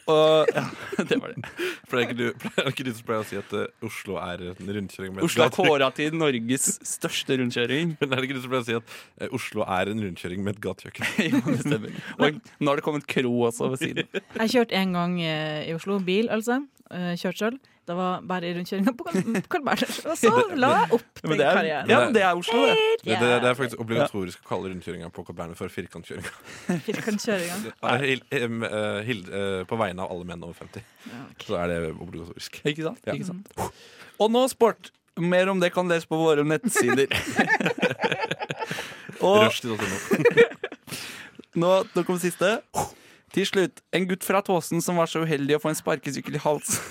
D: Og, ja, *laughs* det var det.
C: For det er ikke du, *laughs* for det er ikke du som pleier å si at eh, Oslo er en rundkjøring med et
D: Oslo er
C: gatekrysning?
D: kåra til Norges største rundkjøring.
C: Men er det ikke du som pleier å si at eh, Oslo er en rundkjøring med et gatekjøkken?
D: Jo, *laughs* det stemmer. Og nå har det kommet Kro også ved siden.
E: Jeg kjørte en gang eh, i Oslo, bil altså. Eh, Kjørt sjøl. Det var bare i rundkjøringa på Karl- Karl Berners. Og
C: *laughs*
E: så la jeg opp
D: Men
E: til
D: det er,
E: karrieren.
D: ja, men det er Oslo, det.
C: Det, det, det er faktisk obligatorisk å kalle rundkjøringa på Carl Berner for firkantkjøringa. *laughs*
E: Firkantkjøringa.
C: Eh, Hil, em, eh, Hilde, eh, på vegne av alle menn over 50. Så er det obligatorisk.
D: Ikke sant?
C: Ja.
D: Ikke sant? Og nå sport. Mer om det kan leses på våre *laughs* nettsider. Og
C: Rushtid.no.
D: nå, nå kommer siste. Til slutt, en gutt fra Tåsen som var så uheldig å få en sparkesykkel i hals.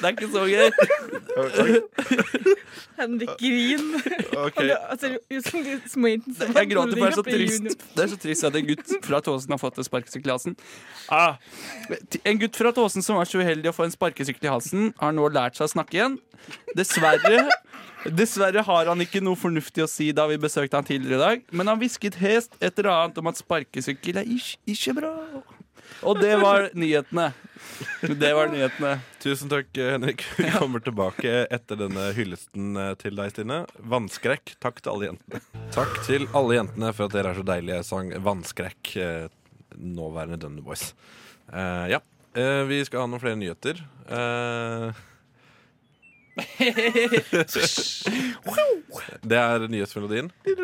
D: Det er ikke så gøy.
E: Henrik Green. Han ser jo ut som de små jentene som
D: Jeg gråter, for det er så
E: blir junior.
D: trist. Det er så trist at en gutt fra Tåsen har fått en sparkesykkel i halsen. Ah, en gutt fra Tåsen som var så uheldig å få en sparkesykkel i halsen, har nå lært seg å snakke igjen. Dessverre Dessverre har han ikke noe fornuftig å si da vi besøkte han tidligere i dag, men han hvisket hest et eller annet om at sparkesykkel er ikke, ikke bra. Og det var nyhetene. Det var nyhetene.
C: Tusen takk, eh, Henrik. *laughs* Vi kommer tilbake etter denne hyllesten eh, til deg, Stine. Vannskrekk. Takk til alle jentene. Takk til alle jentene for at dere er så deilige. Jeg sang Vannskrekk, eh, nåværende Dunny Boys. Eh, ja. Eh, vi skal ha noen flere nyheter. Eh, *laughs* det er nyhetsmelodien.
D: Det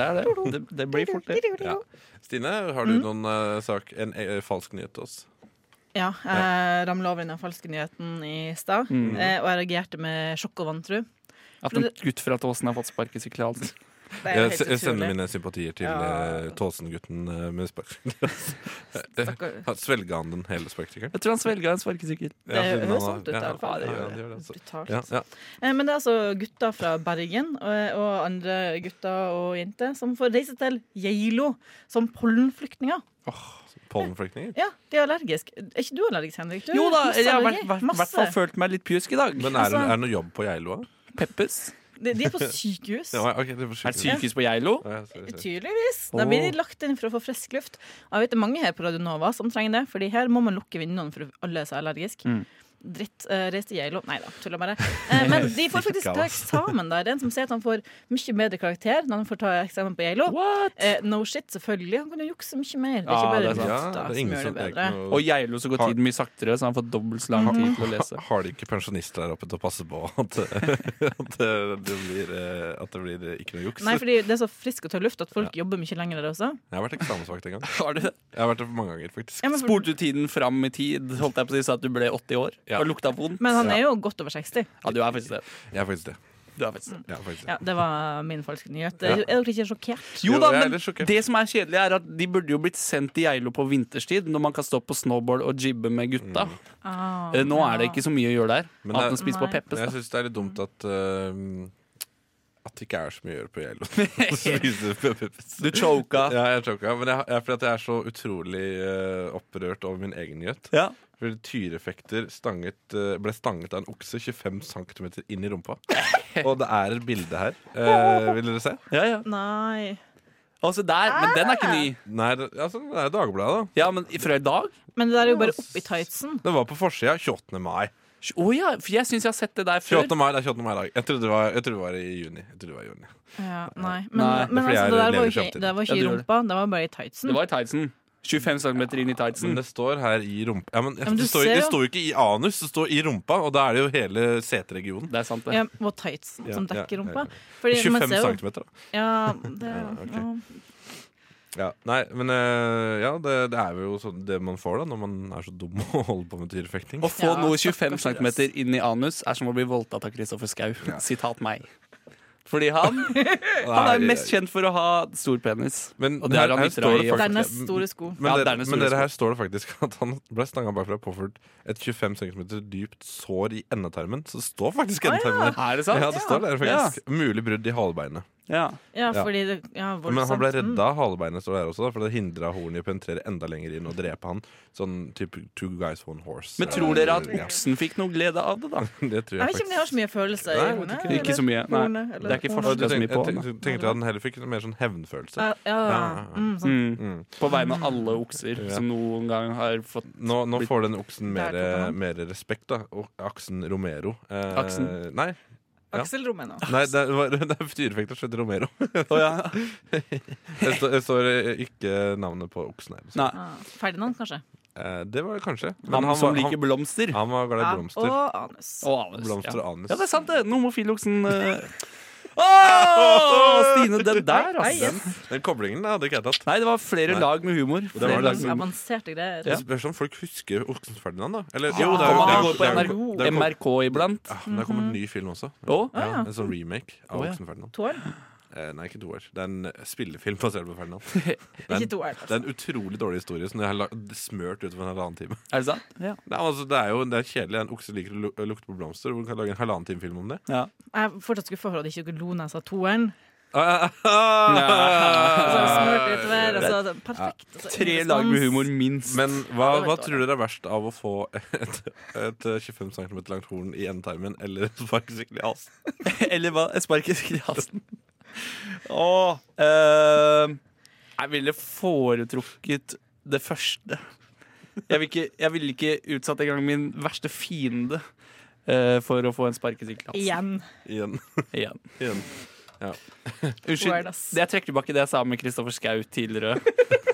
D: er det. Det, det blir fort det.
C: Ja. Stine, har
E: Mm.
C: du noen eh, sak, en eh, falsk nyhet til oss?
E: Ja, eh, jeg ramla over den falske nyheten i stad,
C: Mm.
E: eh, og jeg reagerte med sjokk og vantro.
D: At en gutt fra Tåsen har fått sparkesykkel i halsen.
E: Det er
C: Jeg,
E: helt
C: s- jeg sender
E: utrolig.
C: mine sympatier til
E: Ja.
C: eh, Tåsen-gutten eh, med sparkesykkel.
E: Stakkar.
C: Han- Svelger han den hele sparkesykkelen?
D: Jeg tror han svelga en sparkesykkel.
E: Det
C: siden han
E: høres
C: har-
E: sånn ut, i
C: ja,
E: hvert fall.
C: ja, det gjør det, altså.
E: Brutalt.
C: Ja, ja.
E: Eh, Men det er altså gutter fra Bergen og, og andre gutter og jenter som får reise til Geilo som pollenflyktninger. *laughs*
C: Pollenflyktninger.
E: Ja, de er allergiske. Er ikke du allergisk, Henrik? Du er
D: Jo da,
E: masse
D: jeg har
E: allergi.
D: i hvert
E: Masse.
D: hvert fall følt meg litt pjusk i dag.
C: Men er det,
E: Altså-
C: er det noe jobb på Geilo? da?
D: Peppes.
E: De, de er på sykehus.
C: *laughs* Ja, ok, det var
D: Er det
C: sykehus.
D: sykehus på Geilo?
C: Ja, ja, sorry, sorry.
E: Tydeligvis. Da blir de lagt inn for å få frisk luft. Og jeg vet det er mange her på Radio Nova som trenger det, Fordi her må man lukke vinduene for alle som er allergiske.
D: Mm.
E: Dritt. Uh, Reis til Geilo. Nei da, tuller bare. Eh,
D: *laughs*
E: men de får faktisk ta eksamen der. Det er en som sier at han får mye bedre karakter når han får ta eksamen på Geilo.
D: What?
E: Eh, no shit, selvfølgelig. Han kunne jukse mye mer.
D: Ja,
E: Det er ikke
D: Ah, det
E: bare
D: er sant.
C: Ja,
E: luft da
C: det er
E: som
C: ingen
E: gjør
C: som det
E: det
C: er
E: bedre.
C: ikke noe-
D: Og i Geilo så går
C: Har-
D: tiden mye saktere, så han får dobbelt så lang tid til å lese.
C: *laughs* Har de ikke pensjonister der oppe til å passe på at, *laughs* at, det, blir, eh, at det blir eh, ikke noe juks?
E: Nei, fordi det er så friskt å ta luft at folk jobber mye lenger der også.
C: Jeg har vært eksamensvakt en gang.
D: Har du det?
C: Jeg har vært det mange ganger, faktisk.
E: Ja, men, for,
D: Spurte du tiden fram i tid, holdt jeg på å si, så at du ble 80 år
C: Ja.
D: og lukta vondt?
E: men han er jo godt over 60.
D: Ja, du er faktisk det.
C: Jeg er faktisk det.
D: Du har faktisk det.
C: Ja, faktisk.
E: Ja, det var min falske nyhet.
C: Ja.
E: Er dere ikke sjokkert?
D: Jo
C: Jo,
D: da,
C: jeg er
D: men
C: litt sjokkert.
D: det som er kjedelig, er at de burde jo blitt sendt til Geilo på vinterstid, når man kan stå på snowboard og jibbe med gutta.
E: Ah,
D: Eh, Nå er det ikke så mye å gjøre der,
C: Mm. Men
D: annet
C: det-
D: enn å spise på
E: Nei.
D: Peppes.
C: Men
D: Da.
C: jeg syns det er litt dumt at eh, At det ikke er så mye å gjøre på
E: *laughs*
C: *laughs* Yellow. Spise pepperpizza.
D: Du choka.
C: ja, jeg choka. Men jeg, jeg, fordi at jeg er så utrolig eh, opprørt over min egen gjøt.
D: Ja.
C: Fordi Tyrefekter stanget, eh, ble stanget av en okse 25 cm inn i rumpa. Og det er et bilde her. Eh, vil dere se?
D: Ja, ja.
E: Nei.
D: Altså der, men den er
E: Ah!
D: ikke ny.
C: Nei, det, altså, det er Dagbladet, da.
D: Ja, men fra i dag?
E: Men det der er jo bare oppi tightsen.
C: Det var på forsida 28. mai.
D: Å ja, for jeg syns jeg har sett det der før.
C: 28. mai, Det er 28. mai i dag. Jeg trodde det var, jeg trodde det var i juni. Jeg trodde det var i juni.
E: Ja, nei.
D: Nei,
E: Men, men
C: det er fordi
E: altså,
C: jeg
E: det der
C: lever
E: var
C: i
E: ikke,
C: fremtiden.
E: det var ikke
D: Ja,
E: i
D: du gjør det.
E: rumpa, det var bare i tightsen.
D: Det var i tightsen. 25 cm inn i tightsen.
C: Men det står her i rumpa. Ja, men,
E: men du
C: det, står,
E: ser
C: det
E: jo-
C: står jo ikke i anus, det står i rumpa, og da er det jo hele seteregionen.
D: Det er sant, det.
E: Ja, og tightsen som
C: Ja, ja,
E: dekker
C: ja,
E: rumpa.
C: ja.
E: Fordi man
C: 25
E: ser jo
C: cm, da.
E: Ja, det
C: ok.
E: ja.
C: Ja. Nei, men eh, ja, det, det er jo sånn det man får da når man er så dum *laughs* og holder på med tyrefekting.
D: Å få
E: Ja,
D: noe 25 cm inn i anus er som å bli voldtatt av Kristoffer Schau. *laughs* Sitat meg. Fordi han, han er mest kjent for å ha stor penis.
C: Men-
D: og det
C: men
D: har
C: her
D: han ytra
C: står
D: i
C: det faktisk-
E: Dernest store sko.
C: Men,
D: Ja,
C: dere,
D: dernest
C: men
D: store
C: dere her står det faktisk at han ble stanga bakfra og påført et 25 cm dypt sår i endetarmen. Så det står faktisk endetarmen der.
D: Er det sant?
C: Ja, det står der faktisk. Mulig brudd i halebeinet.
D: Ja.
E: Ja,
C: Ja.
E: fordi det ja, voldsomt.
C: Men han ble
E: Mm.
C: redda av halebeinet, står det her også, da, for det hindra hornet i å penetrere enda lenger inn og drepe han. Sånn type two guys, one horse.
D: Men tror dere at
C: Ja,
D: oksen fikk noe glede av det, da?
C: Det tror
E: Jeg
C: jeg
E: vet ikke om de har
C: faktisk.
E: så mye følelser
C: Nei,
E: i
C: jeg vet
E: hornet.
C: ikke.
E: eller
D: Ikke så mye, nei.
E: hornet, eller
D: Det er ikke
E: hornet.
C: Og du
D: forskjell så mye
C: tenker,
D: på
C: jeg
D: den.
C: tenk- tenkte at han heller fikk mer sånn hevnfølelse.
E: Ja, ja,
C: Ja, ja, ja.
E: Mm, sånn.
D: Mm. På vegne av alle okser
C: Ja.
D: som noen gang har fått
C: Nå, nå får den oksen mer,
E: Der tok han.
C: mer respekt, da. Og Aksen Romero. Eh,
D: Aksen?
C: Nei, Ja.
E: Aksel Romeno.
C: nei det, var, *laughs* det er dyreeffekter som heter Romero.
D: Å, ja.
C: Det står, det står eh, ikke navnet på oksen her.
D: Nei.
E: Ah, Ferdinand, kanskje.
C: Eh, det var det kanskje. Men
D: Han, som
C: var,
D: liker blomster.
C: han, han var glad i blomster.
E: Ja, og anus.
D: Og anus.
C: Blomster
D: ja.
C: og anus.
D: ja, det er sant, det. Den homofiloksen eh. *laughs* Åh, Stine, den der,
E: Nei,
D: altså.
E: yes.
C: Den koblingen hadde ikke jeg tatt.
D: Nei, det var flere
C: Nei.
D: lag med humor.
C: var
D: Flere
C: det.
D: lag med humor.
E: Avanserte greier.
C: Det spørs om folk husker Oksen Ferdinand, da. Eller,
D: Jo, det,
E: er jo-
D: det
E: jo-
D: går på
E: det er
D: NRK,
E: jo-
C: det er jo-
D: MRK iblant.
C: Ah, men det har
D: Mhm.
C: kommet en ny film også.
D: Å?
C: ja,
E: Ah, ja.
C: En sånn remake av
D: Å, ja.
C: Oksen Ferdinand.
E: Tårn?
C: Eh, nei, ikke toer. Det er en spillefilm basert på
D: *laughs*
C: Ferdinand. Det er
E: Ikke
C: en,
E: to her,
C: det er
E: altså.
C: en utrolig dårlig historie som de har la- smørt utover en halvannen time. *laughs*
D: Er det sant? Ja.
C: Nei, men altså, det er jo det er kjedelig. En okse liker å lu- å lukte på blomster. Hvor kan lage en halvannen time film om det?
E: Jeg er fortsatt skuffa over at ikke dere lo når jeg sa toeren. Altså,
C: Ah.
E: smørt utover, altså, det- perfekt. Altså,
D: Tre
E: ingen
D: lag med
E: respons.
D: humor, minst.
C: *laughs* Men hva,
E: Ja, det
C: hva
E: vet
C: tror dere er verst av å få et, et 25 cm langt horn i endetarmen eller et sparkesykkel i halsen?
D: *laughs* Eller hva? Et spark i halsen. Åh, eh, jeg ville foretrukket det første. Jeg ville ikke, jeg vil ikke utsatt engang min verste fiende eh, for å få en sparkesykkel i halsen.
E: Igjen.
C: Igjen.
D: Igjen.
C: Igjen.
D: Unnskyld.
E: Word, ass.
D: Jeg trekker tilbake det jeg sa med Kristoffer Schau tidligere.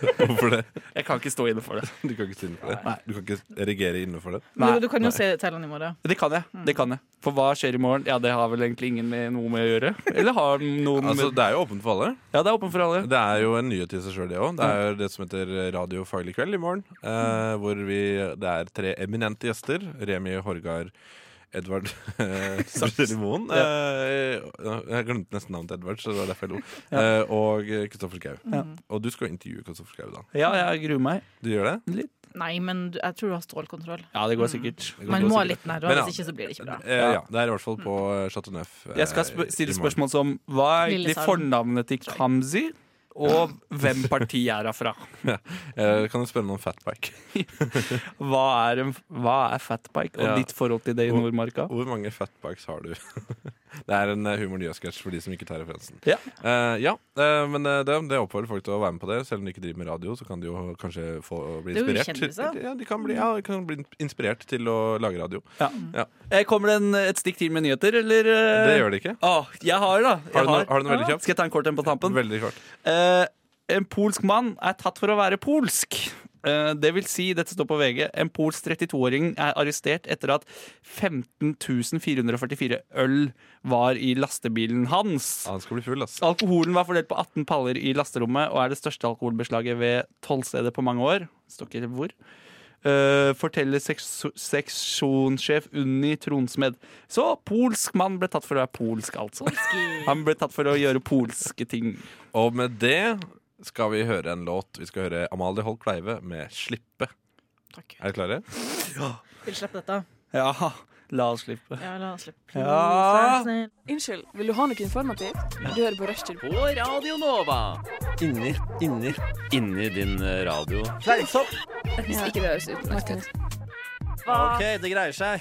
C: Hvorfor det?
D: Jeg kan ikke stå inne for det.
C: Du kan ikke stå innenfor det?
D: Nei.
C: Du kan ikke regere innenfor det?
E: *laughs* Men
D: Nei.
E: Du, du kan Mm. jo se tellene i morgen.
D: Det kan jeg. det kan jeg For hva skjer i morgen? Ja, Det har vel egentlig ingen med noe med å gjøre. Eller har noen
C: *laughs* Altså,
D: med
C: det er jo åpent for alle.
D: Ja, det er åpen for alle.
C: Det er jo en nyhet i seg sjøl, det òg. Det er det som heter Radio Faglig kveld i morgen. Eh, hvor vi, det er tre eminente gjester. Remi Horgard, Edvard *laughs* eh, Brunelli Moen. Eh, jeg glemte nesten navnet til Edvard, så det var derfor jeg lo. Eh, og eh, Kristoffer Schau.
D: Ja.
C: Og du skal jo intervjue Kristoffer Schau, da.
D: Ja, jeg gruer meg
C: Du gjør det?
D: litt.
E: Nei, men du, jeg tror du har stålkontroll.
D: Ja, det går sikkert.
C: Det går
E: Man
C: bra,
E: må ha
C: sikkert.
E: litt nerver,
C: Men ja.
E: hvis ikke så blir
C: *laughs*
E: det ikke bra.
C: Eh, ja, det er i hvert fall på eh, Chateau Neuf. eh,
D: Jeg skal sp
C: i
D: stille
C: morgen.
D: spørsmål som hva er
E: Lille
D: egentlig
E: Salen.
D: fornavnet til Kamzy, og hvem parti er hun fra?
C: Eh, kan du spørre meg om fatbike?
D: Hva er, en, hva er fatbike, og
C: Ja.
D: ditt forhold til det i
C: Hvor-
D: Nordmarka?
C: Hvor mange fatbikes har du? *laughs* det er en eh, humor nyhetssketsj for de som ikke tar referansen.
D: Ja.
C: Eh, ja, eh, men eh, det, det oppfordrer folk til å være med på det. Selv om de ikke driver med radio, så kan de jo kanskje få bli
E: Det er jo liksom.
C: inspirert.
E: kjendiser.
C: ja, de kan bli, ja, de kan bli inspirert til å lage radio.
D: Ja.
C: Ja.
D: Eh, Kommer det en, et stikk til med nyheter, eller? eh?
C: Det
E: Eh,
C: gjør de ikke.
D: jeg har da. Jeg
C: Har du noe- har du noe veldig kjapt?
D: Skal jeg ta en kort en på tampen?
C: Veldig kort.
D: Eh, en polsk mann er tatt for å være polsk. Eh, det vil si, dette står på VG, en polsk 32-åring er arrestert etter at 15.444 øl var i lastebilen hans.
C: Han skal bli full, ass.
D: Alkoholen var fordelt på 18 paller i lasterommet og er det største alkoholbeslaget ved tollstedet på mange år. Det Står ikke hvor. eh, forteller seks- seksjonssjef Unni Tronsmed. Så polsk mann ble tatt for å være polsk, altså. Han ble tatt for å gjøre polske ting.
C: Og med det skal vi høre en låt. Vi skal høre Amalie Holk Kleive med 'Slippe'.
E: Takk.
C: Er dere klare?
E: Vil slippe dette.
D: Ja, la oss slippe.
E: Ja, la oss slippe.
D: Ja.
E: Vær så snill.
F: Unnskyld, vil du ha noe informativt? Du hører på Rushtid.
G: Inni, inni Inni din eh, radio
F: Hvis ikke det høres utmerket ut.
G: Ok, det greier seg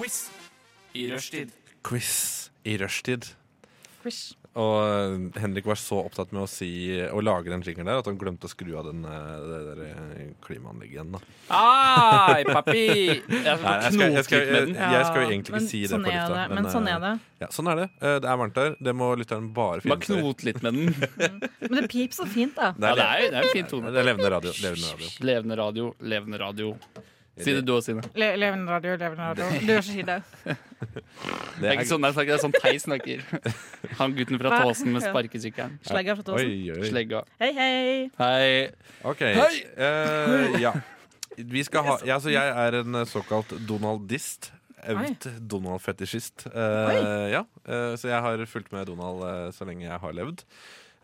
H: Quiz i rushtid.
C: Quiz i rushtid.
E: Quiz.
C: Og eh, Henrik var så opptatt med å, si, å lage den jingeren der at han glemte å skru av den, eh, det der eh, klimaanlegget igjen. Da.
D: Ai, Ah, *laughs* papi!
C: Nei, jeg, skal, jeg, skal, jeg, jeg skal jo egentlig ikke
E: Men
C: si det
E: sånn
C: på
E: er
C: lufta.
E: det. Men sånn er det.
C: eh, Ja, sånn er det. Eh, Det er varmt der. Det må lytteren bare finne
D: Bare
C: seg i.
D: knot litt med den.
E: Men det piper så
C: *laughs*
E: fint, da.
D: Ja,
C: Det er,
D: det
C: le-
D: er jo det er en fin tone.
C: det er levende radio. Levende radio.
D: Levende radio, levende radio. Si det du og Sine.
E: Le levende radio, levende radio. Du gjør så fint, det.
D: Det
C: Det
D: er ikke sånn jeg snakker, det er sånn Theis snakker.
C: *laughs*
D: Han gutten fra
E: Hva?
D: Tåsen med
E: Ja.
D: sparkesykkelen.
E: Slegga fra Tåsen.
C: Oi, oi.
D: Slegga.
E: Hei, hei.
D: Hei.
C: Ok,
D: Hei!
C: eh, ja Vi skal
E: *laughs*
C: ha, ja, så jeg er en eh, såkalt Donaldist Evt Donald-fetisjist Eh, ja. eh, Så jeg har fulgt med Donald eh, så lenge jeg har levd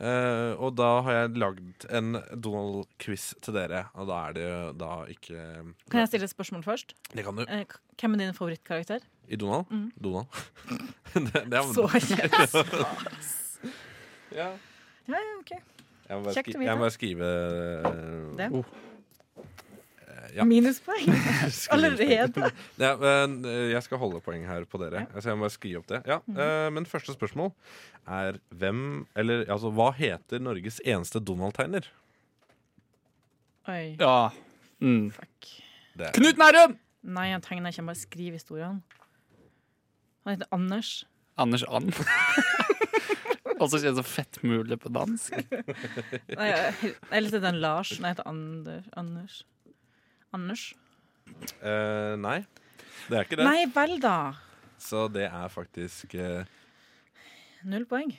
C: Eh, Og da har jeg lagd en Donald-quiz til dere Og da er det jo da ikke
E: Kan jeg stille et spørsmål først?
C: Det kan du
E: Eh, k- Hvem er din favorittkarakter?
C: I Donald? Donald *laughs* det, det er,
E: Mm. Så *laughs*
C: *laughs*
E: kjekt.
C: ja.
E: Ja, ja, ok.
C: Jeg må bare,
E: Kjekt å
C: skri,
E: vite.
C: jeg må bare skrive
E: Det.
C: Oh. Eh, Ja.
E: Minuspoeng
C: *laughs*
E: allerede.
C: Ja, men eh, jeg skal holde poeng her på dere. Så jeg må bare skrive opp det. Ja, eh, men første spørsmål er hvem Eller altså, hva heter Norges eneste Donald-tegner?
E: Oi,
D: Ja. Mm.
E: fuck.
C: Det er-
D: Knut Nærum!
E: Nei, han tegner ikke, han bare skriver historien. Han heter Anders.
D: Anders And. *laughs* Også kjent som fettmule på
C: *laughs*
D: dansk.
E: Nei, jeg- eller heter han Lars. Nei, jeg heter Ander, Anders. Anders?
C: eh, nei, det er ikke det.
E: Nei vel, da.
C: Så det er faktisk eh,
E: Null poeng.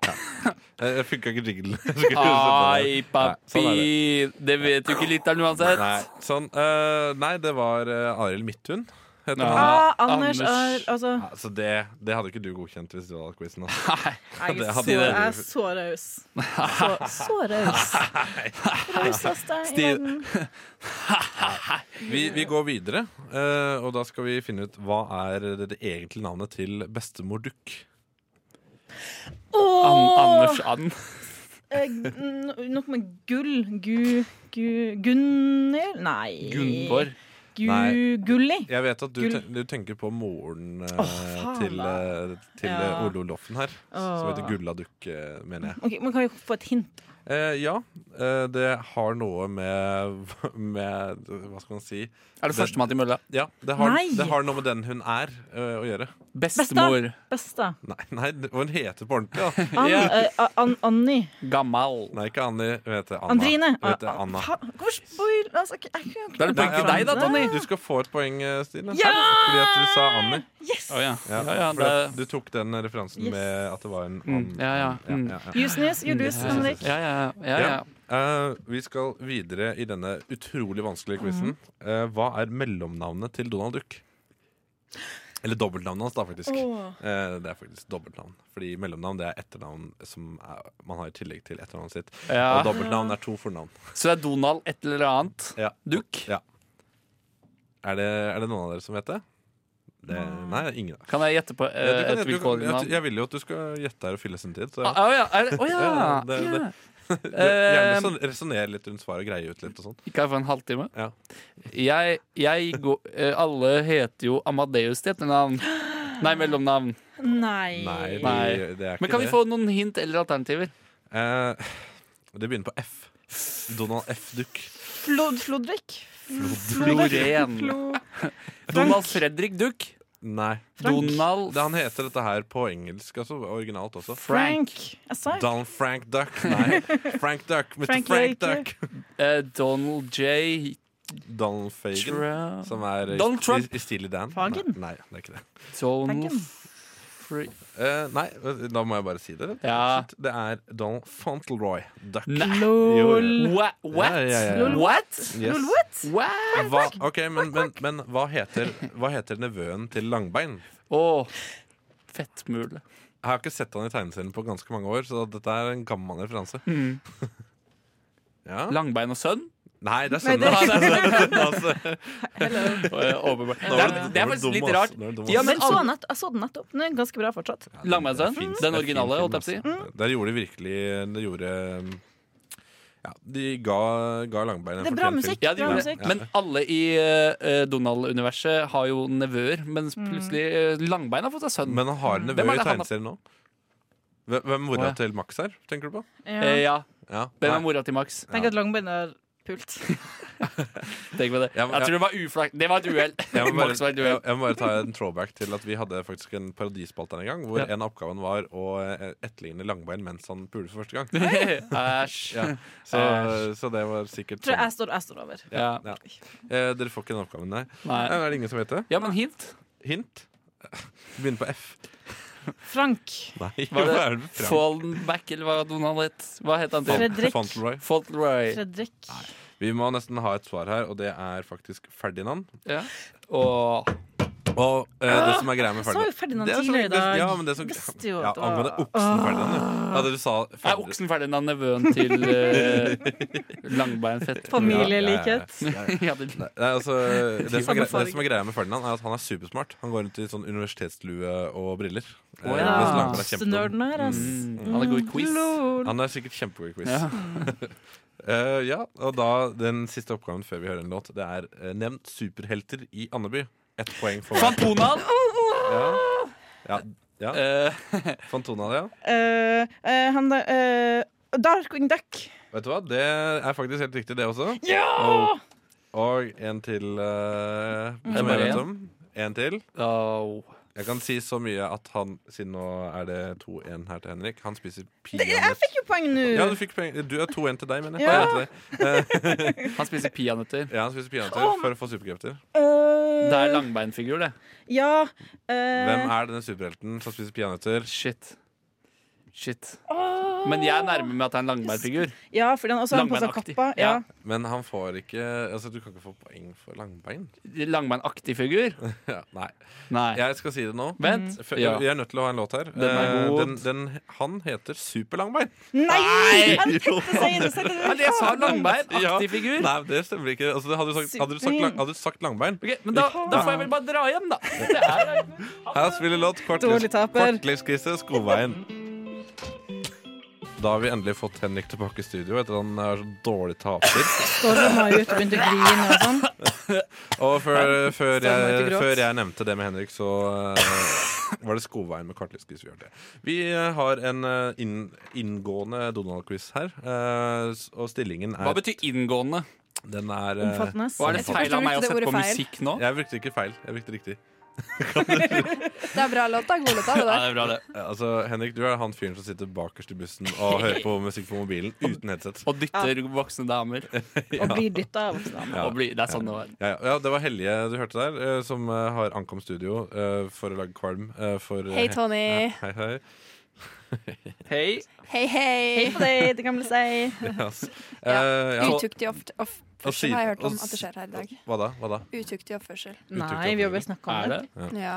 C: Jeg funka eh, ikke jinglen. *laughs* sånn
D: Ai,
C: Nei,
D: papi! Det vet jo ikke lytteren uansett.
C: Nei, sånn, eh, nei, det var eh, Arild Midthun. Heter
D: Ja.
C: han.
E: Ah,
D: Ah,
E: Anders,
D: Anders.
E: Er, altså
C: Ja, så det, det hadde ikke du godkjent hvis du hadde hatt quizen. altså.
E: Jeg
C: det hadde
E: er så,
C: de det.
E: jeg er så raus. Så, så raus. Rauseste i
D: Stil-
E: verden.
C: Vi, vi går videre, eh, og da skal vi finne ut hva er det, det egentlige navnet til bestemor Duck.
D: An
E: Åh!
D: Anders And.
E: Eh, n- Noe med gull. Gu... gu Gunnhild? Nei.
D: Gunvor.
E: Gu,
C: Nei.
E: Gulli.
C: Jeg vet at du,
E: Gull.
C: ten, du tenker på moren eh,
E: Åh, faen,
C: til,
E: da.
C: eh, til
E: Ja.
C: eh, Ole Loffen her, som
E: Åh.
C: heter Gulla Dukk, eh, mener jeg.
E: Ok, men Kan vi få et hint?
C: Eh, ja, eh, det har noe med, *laughs* med Hva skal man si?
D: Er det førstemann til mølla?
C: Ja, det har,
E: Nei!
C: det har noe med den hun er, eh, å gjøre.
D: Bestemor.
E: Besta.
C: Nei, *laughs* nei, hva hun heter på ordentlig, da.
E: *laughs* An,
D: Ja.
E: eh, a- an, Anni.
D: Gammal.
C: Nei, ikke Anni. Hun heter Anna.
E: Andrine.
C: Hun heter Anna.
E: Fa- Hvorfor spoil altså, jeg kan jo ikke-
D: Da er det poeng til deg, da, Tony.
C: Du skal få et poeng, eh, Stine.
E: Ja!
C: Fordi at du sa Anni.
E: Yes!
D: Å ja.
C: Ja,
D: Ja, ja,
C: fordi
D: det,
C: at du tok den referansen
E: Yes.
C: med at det var en
D: Mm, ja, ja, mm.
E: You snooze, you lose, Henrik.
D: ja, ja, ja, ja.
C: Ja. Eh, vi skal videre i denne utrolig vanskelige quizen. Eh, hva er mellomnavnet til Donald Duck? Eller dobbeltnavnet hans, da, faktisk.
E: Åh.
C: Eh, det er faktisk dobbeltnavn. Fordi mellomnavn det er etternavn som er, man har i tillegg til etternavnet sitt. Og
D: ja.
C: dobbeltnavn er to fornavn.
D: Så det er Donald et eller annet.
C: Ja.
D: Dukk.
C: Ja. Er, det, er det noen av dere som vet det? det nei, det er ingen.
D: Kan jeg gjette på eh,
C: Ja, du kan-
D: et Ah,
C: du kan-
D: vilkårlig
C: jeg,
D: navn?
C: jeg vil jo at du skal gjette her og fylle sin tid. Så
D: Å ja! Er det, å, ja.
C: Ja, det- det- *laughs*
D: Ja.
C: gjerne
D: Eh,
C: sånn, resonnere litt rundt svaret og greie ut litt og sånn.
D: Kan jeg få en halvtime?
C: Ja.
D: Jeg, jeg går eh, Alle heter jo Amadeus til etternavn. Nei, mellomnavn.
E: Nei.
C: Nei,
D: eh, Nei.
C: det, det er ikke
D: Men kan
C: det.
D: vi få noen hint eller alternativer?
C: Eh, det begynner på F. Donald F. Duck.
E: Flod, Flodrik?
D: Floren.
E: Flo...
D: Donald Fredrik Duck.
C: Nei.
D: Donald
C: Det, han heter dette her på engelsk, altså originalt også.
E: Frank. Jeg sa ikke
C: Donald Frank Duck. Nei, Frank Duck. Mr.
E: Frank
C: Frank,
E: Lake.
C: Duck.
D: eh, Donald J.
C: Donald Fagan.
D: Trump
C: Som er i-
D: Donald Trump.
C: I, i Steely Dan.
E: Fagen?
C: Nei, nei, det er ikke det.
D: Donald
E: Franken.
D: Fre...
C: Eh, nei, da må jeg bare si det.
D: Ja.
C: Shit, Det er Donald Fauntleroy Duck.
D: Nei.
C: Lol.
D: What? What?
C: Ja, ja, ja, ja.
D: What?
C: Yes.
D: What?
C: Hva, ok, men, men, men hva, heter, hva heter nevøen til Langbein?
D: Å, fettmule.
C: Jeg har ikke sett han i tegneserien på ganske mange år, så dette er en gammel referanse.
D: Mm.
C: *laughs* Ja.
D: Langbein og
C: *laughs*
D: sønn?
C: Nei, det er
E: Nei, det-
C: sønnen
E: *laughs*
D: *laughs*
C: hans.
D: Åpenbart. Det,
C: Nå var
D: er- det er
C: du- nå var du
D: faktisk
C: dum,
D: litt
C: ass.
D: rart.
C: Nå var du dum,
D: Ja,
C: ass.
D: men
E: Men så
D: alle-
E: nett, jeg så den nettopp. Den er ganske bra fortsatt.
D: Langbein
C: Det er
D: sønn?
C: fint. Det er
D: Den
C: fin
D: originale,
C: film,
D: holdt jeg
C: ass.
D: på
C: Mm.
D: å si.
C: Der gjorde de virkelig Det gjorde Ja, de ga, ga Langbein en
E: Det er
C: fortjent
E: bra
C: film.
E: musikk.
D: Ja, de
E: bra
D: gjorde det.
E: musikk.
D: Men alle i eh, Donald-universet har jo nevøer, mens
E: Mm.
D: plutselig eh, Langbein har fått seg sønn.
C: Men han har en
D: Hvem er
C: nevø i
D: det han-
C: tegneserien nå. Hvem- Hvem mora
D: Å, ja.
C: til Max er, tenker du på?
E: Ja.
D: Eh, ja,
C: Ja.
D: Hvem er
C: Nei.
D: mora til Max?
E: Tenk at Langbein har pult.
D: Tenk på det.
C: Ja, men-
D: Jeg tror det var uflaks. Det var et uhell.
C: Jeg må, bare,
D: Max var et
C: jeg,
D: uhell.
C: jeg må bare ta en throwback til at vi hadde faktisk en parodispalte en gang, hvor
D: Ja.
C: en av oppgaven var å eh, etterligne Langbein mens han puler for første gang.
D: Æsj.
C: *laughs* Ja. Så,
D: Æsj.
C: så det var sikkert
E: Tror jeg
C: sånn.
E: jeg står, jeg står over.
D: Ja.
C: Ja. Eh, Dere får ikke den oppgaven, nei. Eh,
D: Nei.
C: Er det ingen som vet det?
D: ja, men hint.
C: Hint? *laughs* Begynner på F.
E: Frank.
C: *laughs* Nei,
D: Var
C: hva
D: det
C: er det med Frank?
D: Fallback, eller hva Donald het? Hva het han til?
E: Fred- Fredrik.
C: Fauntleroy.
D: Fauntleroy.
E: Fredrik.
C: Vi må nesten ha et svar her, og det er faktisk Ferdinand.
D: Ja. Og
C: Og eh, det som er greia med
E: Jeg sa jo
C: Ferdinand
E: Ah, Ferdinand
C: Det er så-
E: tidligere i dag.
C: det- Ja, men det som,
E: Visste jo
C: ja,
E: at det var-
C: angående oksen Ferdinand. ja. Ja, det du sa
D: er
C: Ferdinand-
D: oksen Ferdinand nevøen til eh, Langbein Fett?
E: Familielikhet.
C: Ja, ja, ja,
D: *laughs*
C: ja.
D: Ja, det,
C: Nei, nei, altså, det, som er
E: Samme
C: greia,
E: farge.
C: det som er greia med Ferdinand, er at han er supersmart. Han går rundt i sånn universitetslue og briller. Eh,
D: Å, ja.
C: mens Langberg er
E: Største
C: kjempedum.
E: nerden her, ass.
D: mm, han er god i quiz.
E: Lol.
C: Han er sikkert kjempegod i quiz.
D: Ja.
C: Eh, ja, og da Den siste oppgaven før vi hører en låt, det er uh, nevnt superhelter i Andeby. Ett poeng for hver.
D: Fantonan!
C: Ja. Ja,
D: Eh,
C: Fantona, ja.
E: Eh, eh, han der eh, Darkwing Duck.
C: Vet du hva? Det er faktisk helt riktig, det også.
E: Ja!
C: Og en til eh,
D: Mm. det
C: som
D: bare
C: jeg vet
D: en?
C: om. En til.
D: au.
C: Jeg kan si så mye at han, siden nå er det 2-1 her til Henrik, han spiser peanøtter.
E: Fikk jo poeng nå.
C: Ja, du fikk penger. Du er 2-1 til deg, mener jeg.
E: Ja.
C: Til deg.
D: Han spiser peanøtter.
C: Ja, han spiser peanøtter for å få superkrefter.
E: Eh,
D: Det er langbeinfigur, det.
E: Ja. eh,
C: Hvem er denne superhelten som spiser peanøtter?
D: Shit. Shit. Men jeg nærmer meg at det er en langbeinfigur.
E: Ja, fordi han også har på seg
D: Langbeinaktig.
E: kappa. Ja.
D: Ja.
C: Men han får ikke Altså, du kan ikke få poeng for langbein. *laughs*
D: Langbeinaktig figur?
C: Ja, nei.
D: Nei.
C: Jeg skal si det nå. Mm.
D: Vent.
C: Før-
D: Ja.
C: Vi er nødt til å ha en låt her.
D: Den er
C: Eh,
D: god.
C: den, den, han heter Superlangbein.
E: Nei!
D: Nei!
E: Jeg tenkte å si det, så
D: Ja,
E: det.
D: Jeg sa langbeinaktig
C: Ja.
D: figur.
C: Nei, det stemmer ikke. Altså, hadde, du sagt, hadde, du sagt lang, hadde du sagt langbein
D: Ok, men da, da får jeg vel bare dra hjem, da. Det er
C: Her spiller låt
E: Dårlig taper.
C: Kvartlivskrise Skogveien. Da har vi endelig fått Henrik tilbake i studio etter at han er så dårlig taper.
E: Storma ut og begynte å grine og sånn.
C: Og før, før, jeg,
E: ikke gråt.
C: før jeg nevnte det med Henrik, så eh, var det Skogveien med Kvartlivskrise vi hørte. Vi eh, har en eh, inn, inngående Donald-quiz her, eh, s- og stillingen
D: Hva
C: er
D: betyr inngående?
C: Den er eh,
E: Omfattende. ass.
D: Hva er det
F: Jeg tror
D: feil av
F: ikke
D: meg å
F: det
D: sette på
F: ordet feil.
D: musikk nå?
C: Jeg brukte ikke feil. Jeg brukte riktig.
F: Det er bra låt, da. God låt, da. det
D: Ja,
F: der.
D: det er bra, det.
C: Eh, Altså, Henrik, du er han fyren som sitter bakerst i bussen og hører på musikk på mobilen uten headset.
D: Og dytter voksne damer.
E: Og blir dytta av voksne damer.
C: Ja.
D: Og blir, det er sånn det var.
C: Ja, ja, ja, det var Helje du hørte der, eh, som eh, har ankom studio eh, for å lage kvalm. eh, for,
F: Hei,
C: Ja,
F: Tony.
C: hei, *laughs* hei.
D: Hei.
F: Hei, hei.
E: Hei på deg, det gamle seg.
C: Yes.
F: Ja,
C: Eh, ja.
F: Utuktig off- oppførsel
C: Og
F: har jeg
C: sier-
F: hørt om
C: og
F: at det skjer her i dag.
C: Hva da? Hva da?
F: Utuktig oppførsel.
E: Nei, vi har bare snakka om
D: Er
E: det.
D: det?
F: Ja.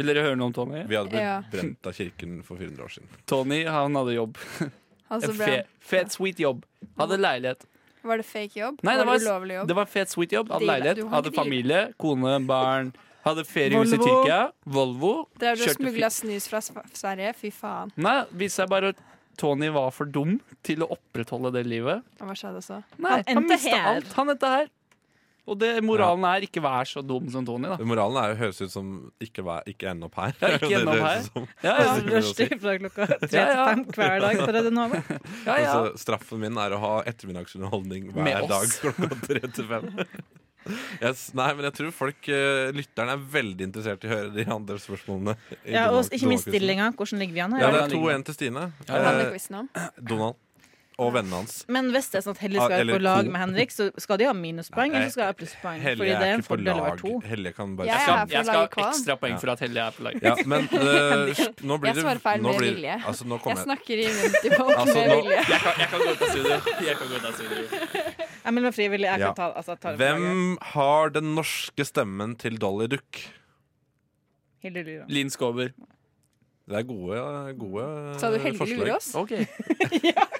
D: Vil dere høre noe om Tony?
C: Vi hadde blitt
F: Ja.
C: brent av kirken for 400 år siden.
D: Tony han hadde jobb.
F: Altså,
D: En
F: ble
D: fe, fet, sweet jobb. Hadde leilighet.
F: Var det fake jobb?
D: Nei, det
F: var
D: var-
F: ulovlig jobb?
D: Det var fet, sweet jobb. Hadde
F: Deal.
D: leilighet,
F: Du har
D: hadde
F: ikke deal.
D: familie, kone, barn. Hadde feriehus i
E: Volvo.
D: Tyrkia. Volvo.
F: Drev du og
D: Kjørte fi-
F: smugla snus fra Sv- Sverige? Fy faen.
D: Nei, viste seg bare at Tony var for dum til å opprettholde det livet.
F: Og hva skjedde så?
D: Nei,
E: endte
D: mistet
E: her.
D: alt. Han endte her. Og det, moralen er ikke vær så dum som Tony, da.
C: Moralen er jo høres ut som ikke, vær, ikke ende opp her.
D: Ja, *laughs* ikke
C: Det
D: ende opp
C: høres ut som.
D: Ja, ja.
C: det er det å si.
E: Rushtid fra klokka tre
D: Ja,
E: til
D: ja.
E: fem hver dag fra det nå. av.
D: ja, ja.
C: Altså, straffen min er å ha ettermiddagsunderholdning
D: Med
C: hver dag
D: oss.
C: klokka tre til fem.
D: *laughs*
C: Yes, nei, men jeg tror folk, eh, lytterne er veldig interessert i å høre de andre spørsmålene. i
E: Ja, og
C: Donald-
E: ikke minst
C: Donald-quizen.
E: stillinga. Hvordan ligger vi an
C: Ja,
E: her?
C: det er 2-1 til Stine.
D: Ja,
F: Hva handler
C: Eh,
F: quizen om?
C: Donald og vennene hans.
E: Men hvis det er sånn at Helle
C: Ah,
E: skal
C: eller
E: på lag
C: to.
E: med Henrik, så skal de ha minuspoeng, eller så skal jeg ha plusspoeng. Fordi
C: Hellige
E: det
C: er
E: er en
C: ikke på
E: fordel å være
C: lag.
E: to.
C: Hellige kan bare
F: Jeg er
D: skal,
F: her for å
D: jeg skal
F: lage
D: ha
F: kvalm.
D: ekstra poeng for at Hellige er på lag.
C: Ja,
E: *laughs*
C: men eh, nå blir
F: Jeg
C: det
F: svarer feil
C: nå
F: med
C: blir-
F: vilje.
C: Altså, nå
F: Jeg
C: kommer jeg
F: snakker i multiple
C: Altså,
F: med
C: nå-
F: vilje.
D: Jeg kan, jeg kan gå ut av studio. Jeg kan gå ut av studio.
E: Emil var frivillig. Jeg
C: Ja.
E: kan ta, altså, ta det på laget.
C: Hvem har den norske stemmen til Dolly Duck?
E: Hilde Lyra.
D: Linn Skåber.
C: Det er gode, gode
F: Sa du Helge
C: forslag.
F: Lurås?
D: *laughs* Ok.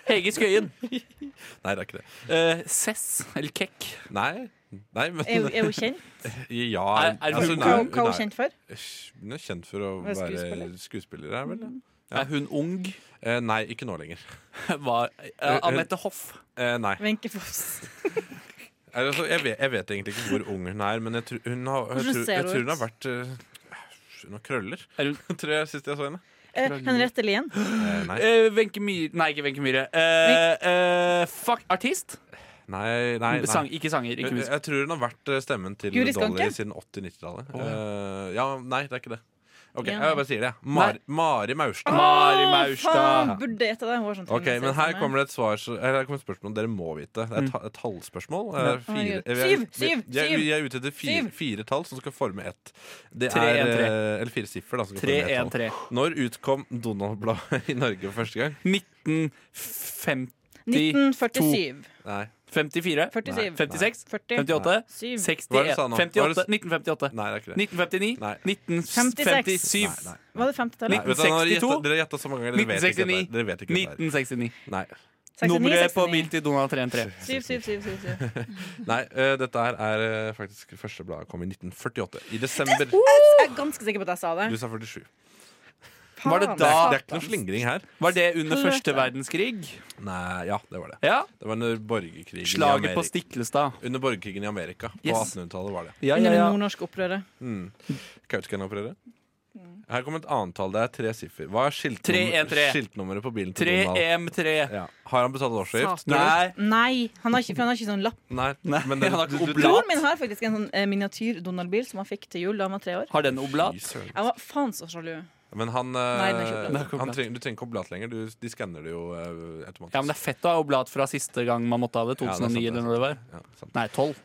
D: Hege Skøyen.
C: Nei, det er ikke det.
D: Eh, Cess, eller Kekk.
C: Nei, nei men
E: Er, hun- er hun kjent?
C: *laughs* Ja.
D: Er- er hun-
C: altså,
E: Hva
C: nei,
E: hva er hun
C: nei.
E: kjent for?
C: Hun er kjent for å
E: Hun er
C: være skuespiller, er vel? det? Ja.
D: Er hun ung?
C: Eh, nei, ikke nå lenger.
D: Var, eh, Anette Hoff.
C: Eh, nei.
E: Wenche Foss.
C: Altså, jeg, vet, jeg vet egentlig ikke hvor ung hun er, men jeg, tror- hun har, jeg,
E: Hvordan
C: tror-
E: ser
C: jeg
E: hun
C: tror
E: ut?
C: hun har vært eh, Hun har krøller, *laughs*
D: Er hun-
C: tror jeg, sist jeg så henne.
E: Eh, Henriette Lien.
C: Eh, nei.
D: Eh, Wenche Myhre Nei, ikke Wenche Myhre. Eh, eh, fuck, artist?
C: Nei, nei, nei.
D: Sang, ikke sanger. Ikke
C: Jeg,
D: musikk.
C: jeg tror hun har vært eh, stemmen til
E: Guri
C: Dolly
E: Skanke?
C: siden 80-90-tallet.
D: Å,
C: Eh, ja, nei, det er ikke det. Ok,
E: Ja,
C: Jeg bare sier det. jeg. Mar
D: Nei.
C: Mari Maurstad.
D: Mari
E: Faen,
D: Maurstad.
E: burde jeg gjette det? Hun har sånn
C: Ok,
E: tendens til
C: men
E: å
C: her
E: stemme.
C: kommer det et svar så- Eller her kommer et spørsmål dere må vite. Det er et, ta- et tallspørsmål. Eh, fire,
E: Herregud.
C: vi er-
E: Syv, syv,
C: vi- jeg-
E: syv.
C: Vi er ute etter fire,
E: Syv.
C: fire tall som skal forme ett. Det
D: Tre,
C: er
D: en, tre.
C: eh, Eller fire siffer, da. Som skal forme ett tall.
D: 313.
C: Når utkom Donald-bladet *laughs* i Norge for første gang?
D: 1954.
E: 1947.
C: Nei.
D: 54.
E: 47.
D: 56.
E: 40.
D: 58.
E: 7.
D: 61.
C: sa nå?
D: 58.
C: Hva
D: 1958.
C: Nei, det er ikke det.
D: 1959.
C: Nei.
D: 1957.
C: Nei, nei.
E: Var det 50-tallet?
C: Nei, vet du hva, nå har dere
D: 1962.
C: gjettet- Dere gjetta så mange ganger. Dere vet ikke dette. her. Dere vet ikke dette. her.
D: 1969.
C: Nei.
E: 69,
D: Nummeret på
E: 69.
D: bil til Donald 313.
E: 7, 7, 7, 7, 7.
C: Nei, eh, dette her er eh, faktisk første bladet kom i 1948. I desember.
E: Jeg er ganske sikker på at jeg sa det.
C: Du sa 47.
D: Var det
E: Faen,
D: da-
E: satan.
C: Det er ikke noe slingring her.
D: Var det under
E: Helvete.
D: første verdenskrig?
C: Nei, ja, det var det.
D: Ja.
C: Det var under borgerkrigen i
D: Slaget
C: Amerika.
D: på Stiklestad.
C: Under borgerkrigen i Amerika. På
D: Yes.
C: 1800-tallet var det.
D: Ja,
E: Under det nordnorske opprøret.
C: Kautokeino-opprøret. Her kommer et annet tall. Det er tre siffer. Hva er skiltnummer,
D: 313.
C: skiltnummeret på bilen til Donald?
D: 3M3.
C: Ja. Har han betalt årsavgift? tror du?
D: Nei.
E: Nei, han har ikke, for han har ikke sånn lapp.
C: Nei.
D: Nei,
C: Men det,
D: han har ikke
C: du- du-
D: oblat.
E: Broren min har faktisk en sånn eh, miniatyr Donald-bil som han fikk til jul da han var tre år.
D: Har den oblat?
C: Fy søren.
E: Jeg var faen så sjalu.
C: Men han,
E: Nei, den er ikke
C: eh,
E: oblat.
C: han trenger, Du trenger ikke oblat lenger. Du, de skanner det jo eh, automatisk.
D: Ja, men Det er fett å ha oblat fra siste gang man måtte ha det.
C: Ja, det er
D: 2009
C: sant, det er
D: eller når det var.
C: Ja, sant.
D: Nei, 12.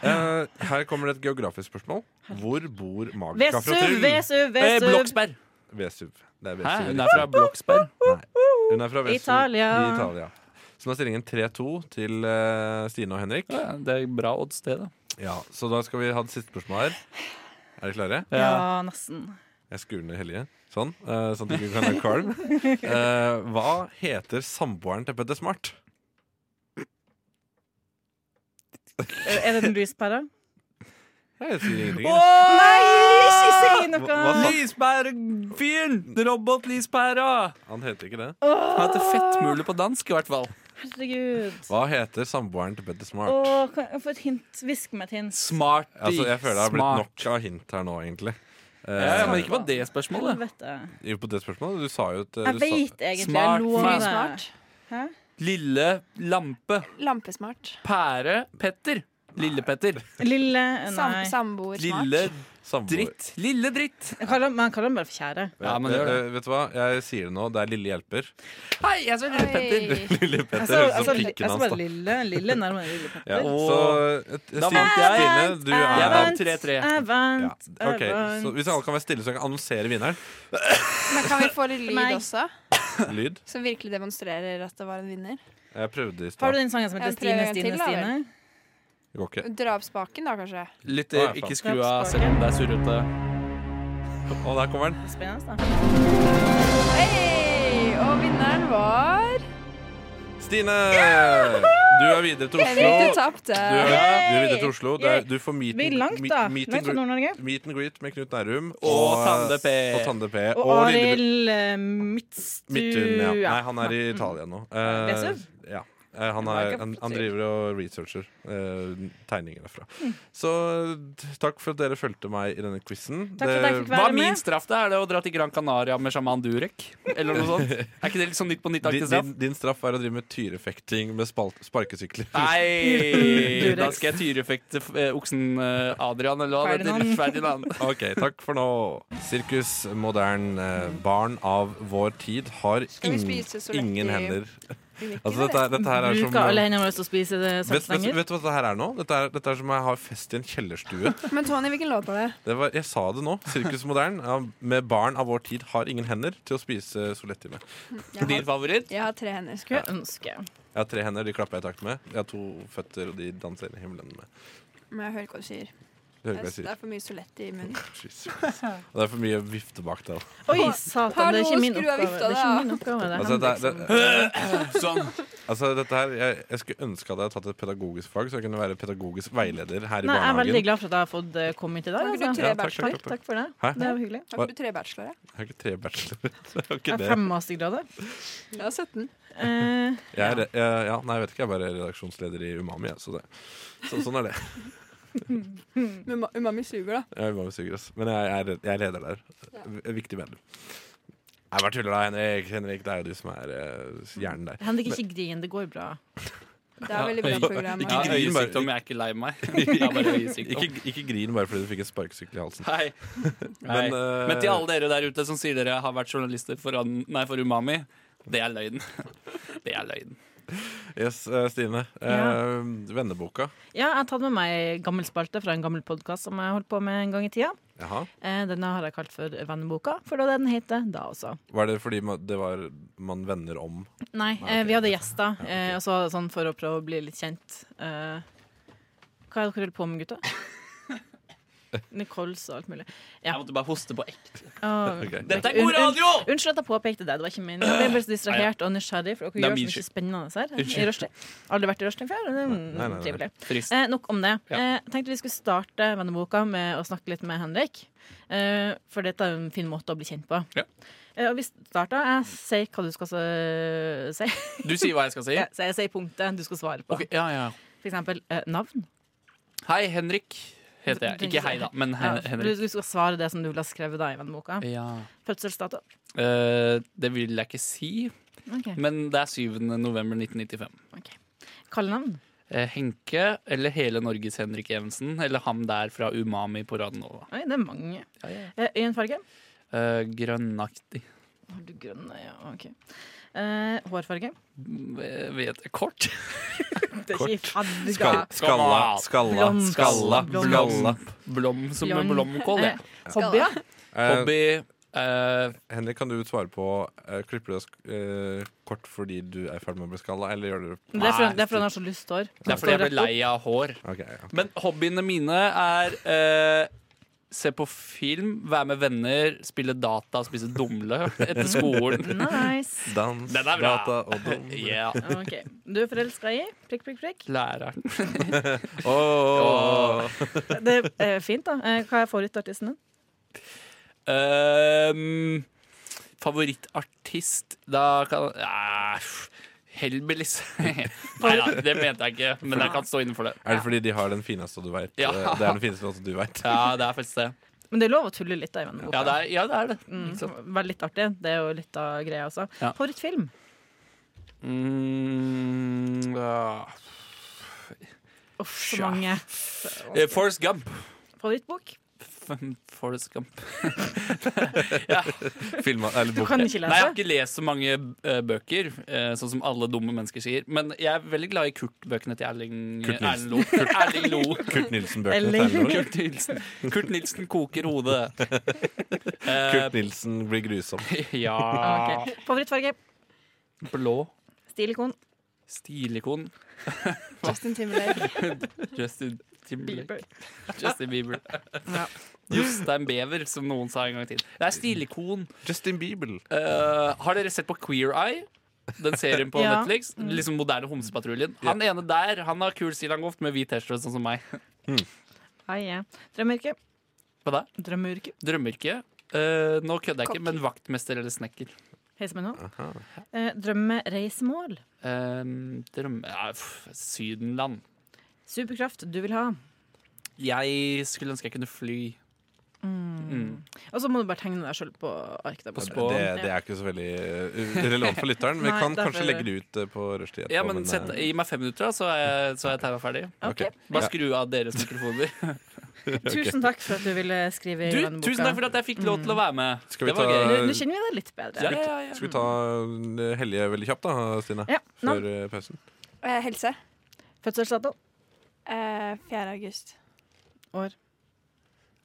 C: Eh, her kommer det et geografisk spørsmål. Hvor bor Magica fra
E: Vesuv,
C: Tryll?
E: Vesuv,
D: Eh,
E: Vesuv!
D: Bloksberg.
C: Vesuv. Det er
D: Hæ?
C: Vesuv.
D: Hun er fra Bloksberg.
C: Nei. Hun er fra Vesuv
E: Italia.
C: i Italia. Så nå er stillingen 3-2 til eh, Stine og Henrik.
D: Ja, det er bra odds, det, da.
C: Ja, Så da skal vi ha det siste spørsmålet her. Er dere klare?
E: Ja, nesten.
C: Jeg skrur ned Hellige. Sånn. eh, sånn at du kan være
E: *laughs*
C: kvalm. Eh, hva heter samboeren til Petter Smart?
E: Eh, Er det den
C: *laughs*
E: lyspæra?
C: Jeg sier ingenting. jeg.
D: Nei!
E: Ikke si noe!
C: Hva sa-
D: Lyspærefyren! Robot-lyspæra!
C: Han heter ikke det.
D: Han heter Fettmule på dansk, i hvert fall.
E: Herregud.
C: Hva heter samboeren til Petter Smart?
E: Åh, kan jeg få et hint? Hvisk meg et hint.
D: Smarty.
C: Altså, jeg føler det har blitt
D: smart.
C: nok av hint her nå, egentlig.
D: Ja, ja,
C: Eh,
D: men ikke på det spørsmålet.
E: Helvete.
C: jo, på det spørsmålet, du sa jo at eh,
E: Jeg
C: du sa-
E: veit egentlig.
D: Smart
E: Jeg lover.
F: Smart.
D: Lille Lampe.
F: Lampesmart.
D: Pære Petter. Lille Petter.
E: Lille
F: Sam
E: Nei.
F: Samboersmart.
D: Lille
C: samboer.
D: dritt. Lille dritt.
E: Jeg kaller, man kaller den bare for kjære.
D: Ja, men det
C: Eh,
D: gjør det.
C: eh, Vet du hva? Jeg sier det nå. Det er Lille
E: *laughs*
C: Hjelper.
D: Hei, jeg så Lille Petter.
F: Oi.
C: Lille Petter
E: Jeg så,
C: høres ut som
E: jeg så, Altså, jeg
C: pikken
E: så
C: hans, da.
E: bare lille, lille nærmere
C: *laughs*
E: lille Petter.
C: Ja,
D: Åh.
C: så eh,
D: Da
C: Stine,
D: vant jeg.
C: Stine, du
D: Jeg
C: er
D: vant 3-3.
E: Jeg
C: ja,
E: vant. Jeg
C: ok, så
E: vant.
C: Hvis alle kan være stille, så kan jeg annonsere vinneren.
F: Men kan vi få
E: Meg.
F: litt lyd også?
C: Lyd.
F: Som virkelig demonstrerer at det var en vinner?
C: Jeg prøvde i
E: Har
C: stad.
E: du den sangen som heter
F: Jeg prøver
E: Stine,
F: en
E: Stine,
F: til, da,
E: Stine?
C: Det går ikke.
F: Dra opp spaken, da, kanskje.
D: Lytter, ikke skru av selv om det er surrete.
C: Og der kommer den.
E: Spennende, da.
F: Hei! Og vinneren var
C: Stine! Du er videre til
F: Henrik, du
C: Oslo.
F: tapte.
C: Du er, du er videre til Oslo. Det er,
E: Yay!
C: du får meet,
E: Det blir
C: and-
E: langt,
C: meet-
E: da.
C: meet
E: Langt
C: and
E: fra
C: greet-
E: Nord-Norge.
C: meet and greet med Knut Nærum
D: Og Tande P.
C: Og Tande P.
E: Og
C: Og Lille
E: Arild eh, Midtstu... Mm.
C: Midtun. Ja. Nei, han er i Italia nå. Eh,
E: Vesuv?
C: ja. Eh, Eh, han,
F: var
C: er,
F: ikke
C: han, han
F: sikker.
C: driver og researcher eh, tegninger derfra.
E: Mm.
C: Så t- takk for at dere fulgte meg i denne quizen.
E: Takk for at jeg fikk
D: Hva
E: Være
D: er
E: med.
D: min straff, da? Er det å dra til Gran Canaria med sjaman Durek? Eller noe sånt? Er ikke det litt sånn Nytt på nytt-aktig
C: din,
D: straff?
C: din, din straff er å drive med tyrefekting med spal- sparkesykler.
E: Ah.
D: Nei! Da skal jeg tyrefekte f- eh, oksen eh, Adrian, eller hva det heter. Ferdinand.
C: *laughs* *laughs* Ok, takk for nå. Sirkus modern eh, barn av vår tid har
F: vi
C: ingen,
F: spise så lett
C: ingen
F: i-
C: hender. Altså,
F: Altså,
C: dette, er- dette her er som
E: Bruker alle hendene våre til å spise det
C: Vet, vet,
E: saltstenger.
C: vet du hva dette her er nå? Dette er, dette er som om jeg har fest i en kjellerstue.
F: Men Tony, hvilken låt var det?
C: Det var, jeg sa det nå. Sirkus modern ja, med barn av vår tid har ingen hender til å spise soletti med.
F: Jeg
D: Din
F: har,
D: favoritt?
F: jeg har tre hender.
E: Skulle jeg ønske.
C: Jeg har tre hender, de klapper jeg i takt med. Jeg har to føtter, og de danser i himmelen med.
F: Men jeg hører ikke hva du sier.
C: Du hører hva jeg
F: Jeg- Det
C: sier.
F: er for mye solett i munnen.
C: Jesus. Og det er for mye vifte bak der.
E: Oi, satan, det er ikke min
F: Hallo, skru av
E: oppgave.
F: vifta,
E: Det er ikke
F: da.
E: min oppgave det.
C: Altså,
E: er
C: dette,
E: Henriksen.
C: er- det,
D: Sånn.
C: altså, dette her, jeg, jeg skulle ønske at jeg hadde tatt et pedagogisk fag, så jeg kunne være pedagogisk veileder her i
E: Nei, jeg er veldig
C: barnehagen.
E: glad for at jeg har fått eh, komme hit i dag.
F: Har ikke du
E: Altså.
F: tre
C: Ja, takk,
F: bachelor?
E: Takk, takk for det.
C: Hæ?
E: Det var hyggelig.
F: Har ikke du tre bachelorer?
C: Jeg har ikke tre *laughs* bachelorer. Jeg har
E: Jeg
C: ikke
E: har
C: det.
E: fem mastergrader.
F: Jeg har 17.
E: Eh,
C: Jeg er, jeg, ja, nei, jeg vet ikke. Jeg er bare redaksjonsleder i Umami, jeg, så det. Så, sånn er det.
F: Men ma- umami suger, da.
C: Jeg er Umami suger, ass. Men jeg er, jeg er leder der. V- Viktig medlem. Nei, bare tuller deg, Henrik. Henrik, Det er jo du som er eh, hjernen der.
E: Henrik, ikke grin. Det går bra.
F: Det er veldig bra program. eh,
D: Ikke
C: Ja,
D: øyesykdom, jeg er ikke lei *laughs* meg. Jeg er bare øyesykdom.
C: Ikke, ikke grin bare fordi du fikk en sparkesykkel i halsen.
D: Nei.
C: Men,
D: Men,
C: eh,
D: Men til alle dere der ute som sier dere har vært journalister for, an, nei, for Umami, det er løgn. *laughs* Det er løgn.
C: Yes, eh, Stine. Eh,
E: Ja.
C: Venneboka.
E: Ja, jeg har tatt med meg ei gammel spalte fra en gammel podkast som jeg holdt på med en gang i tida.
C: Jaha.
E: Eh, Denne har jeg kalt for Venneboka, for det var det den heter da også.
C: Var det fordi man, det var man vender om?
E: Nei,
C: Nei,
E: eh,
C: ok.
E: vi hadde gjester,
C: Ja, ok.
E: eh, og så sånn for å prøve å bli litt kjent. Eh, Hva er det dere holder på med, *laughs* gutta? Nicoles og alt mulig. Ja.
D: Jeg måtte bare hoste på ekte.
E: Å,
C: Ok.
D: Dette er god radio!
E: Unnskyld at jeg påpekte det. Det var ikke min. Jeg ble bare så distrahert og nysgjerrig, for
D: Det er
E: dere gjør
D: min
E: så mye
D: skyld.
E: spennende her i
D: Unnskyld.
E: rushtid. Aldri vært i rushtid før, og det er
C: Nei, nei, nei,
E: mm,
C: nei.
E: trivelig.
D: Trist.
E: Eh, nok om det.
D: Ja.
E: Eh, tenkte vi skulle starte venneboka med å snakke litt med Henrik. Eh, for dette er en fin måte å bli kjent på.
D: Ja.
E: Eh, og vi starter. Jeg sier hva du skal s- si.
D: *laughs* Du sier hva jeg skal si?
E: Ja, så *laughs* jeg sier punktet du skal svare på.
D: Ok, ja, ja.
E: For eksempel eh, navn.
D: Hei, Henrik heter jeg. Ikke hei, da, men he
E: Ja, du,
D: Henrik.
E: du skal svare det som du vil ha skrevet da i venneboka.
D: Ja.
E: Fødselsdato.
D: Eh, det vil jeg ikke si,
E: Ok.
D: men det er 7. november 1995.
E: Kallenavn.
D: Eh, Henke, eller hele Norges Henrik Evensen, eller ham der fra Umami på Radnova.
E: Oi, det er mange.
D: Ja, ja.
E: Eh, Øyenfarge.
D: Eh, grønnaktig
E: Har du grønne, ja, ok eh, Hårfarge
D: Eh, Vet jeg Kort?
E: Kort
C: Skal, skalla, skalla,
E: Blond.
C: skalla.
E: Blond.
C: skalla.
D: Blom som en
E: Blond.
D: blomkål, ja.
E: Hobby, ja
C: Eh,
D: Hobby eh,
C: Henrik, kan du svare på eh, Klipper du deg sk- eh, kort fordi du er i ferd med å bli skalla, eller gjør du det
E: Det er fordi det er fordi han har så lyst hår
D: Det er fordi jeg ble lei av hår.
C: Ok, ja.
D: Men hobbyene mine er eh, se på film, være med venner, spille data, spise dumle etter
E: *laughs*
D: skolen.
E: Nice
C: Dans,
D: Den er bra.
C: data og dom.
D: Ja.
E: Ok, du er forelsket i Prikk, prikk, prikk
D: Læreren.
C: Åh, åh, åh.
E: Det er eh, fint da Eh, Hva er favorittartisten din?
D: Ehm, favorittartist Da kan uh, Hellbillies. *laughs* Nei da, det mente jeg ikke, men jeg kan stå innenfor det.
C: Er det fordi de har den fineste du veit?
D: Ja.
C: Det er den fineste låta du veit.
D: Ja, det er faktisk det.
E: Men det er lov å tulle litt da i venneboka
D: Ja, det er ja, det. Er det.
E: Mm,
D: Ikke sant?
E: Vær litt artig, det er jo litt av greia også
D: Ja.
E: Favorittfilm?
D: Mm, ja.
C: ah.
E: Uff, så mange
D: Eh, Forrest Gump.
C: *laughs*
E: Favorittbok?
D: Forrest Gump.
C: Filma, eller
E: Du
C: bok.
E: kan ikke
D: Nei, jeg
E: lese
D: har ikke lest så mange eh, bøker, eh, sånn som alle dumme mennesker sier. Men jeg er veldig glad i Kurt-bøkene til Erling
C: Kurt
D: Erling
C: Nilsen.
D: Lo. Erling Lo.
C: Kurt Nilsen-bøkene.
E: Eller-
C: til
D: *laughs*
C: Erlend.
D: Kurt Nilsen. Kurt Nilsen koker
C: *laughs*
D: hodet.
C: Kurt Nilsen blir grusom.
D: Eh, *laughs* ja
E: Ah, ok. Favorittfarge?
D: Blå.
E: Stilikon?
D: Stilikon.
F: Justin Timberlake.
D: Justin Timberlake.
E: Bieber
D: Justin Bieber.
E: Ja.
D: Jostein Bever, som noen sa en gang til. Det er stilikon.
C: Justin Bieber.
D: Eh, har dere sett på Queer Eye? Den serien på
E: Ja.
D: Netflix. Liksom moderne homsepatruljen. Han ene der han har kul stil han går med hvit T-skjorte, sånn som meg. *laughs*
E: Hei, ja Drømmeyrke?
D: Hva da?
E: Drømmeyrke?
D: Drømmer ikke. Eh, nå kødder jeg ikke, men vaktmester eller snekker.
E: Heiser meg nå. Eh, Drømmereisemål.
D: Um, drømme ja, pff, Sydenland.
E: Superkraft du vil ha.
D: Jeg skulle ønske jeg kunne fly. Mm.
E: Og så må du bare tegne deg sjøl på ark. der
D: På
E: borte.
D: spå-
C: Det, det er ikke så veldig eh, relevant for lytteren. Vi
E: Nei,
C: kan
E: derfor-
C: kanskje legge det ut eh, på rushtid. etterpå,
D: Ja, men
C: eh,
D: sett, Gi meg fem minutter, da, så er jeg, så er jeg tegna ferdig.
C: ok.
D: *laughs* Bare skru av deres mikrofoner.
E: Tusen takk for at du ville skrive
D: Du,
E: Johan-boka.
D: tusen takk for at jeg fikk lov til å være med.
C: Skal vi
D: det var
C: ta-
D: gøy.
E: Nå nå kjenner vi deg litt bedre.
D: Ja, ja, ja.
C: Skal vi ta eh, Helje veldig kjapt, da, Stine?
E: Ja,
C: Før eh, pausen.
F: Eh, helse.
E: Fødselsdato.
F: Eh, 4. august.
E: År.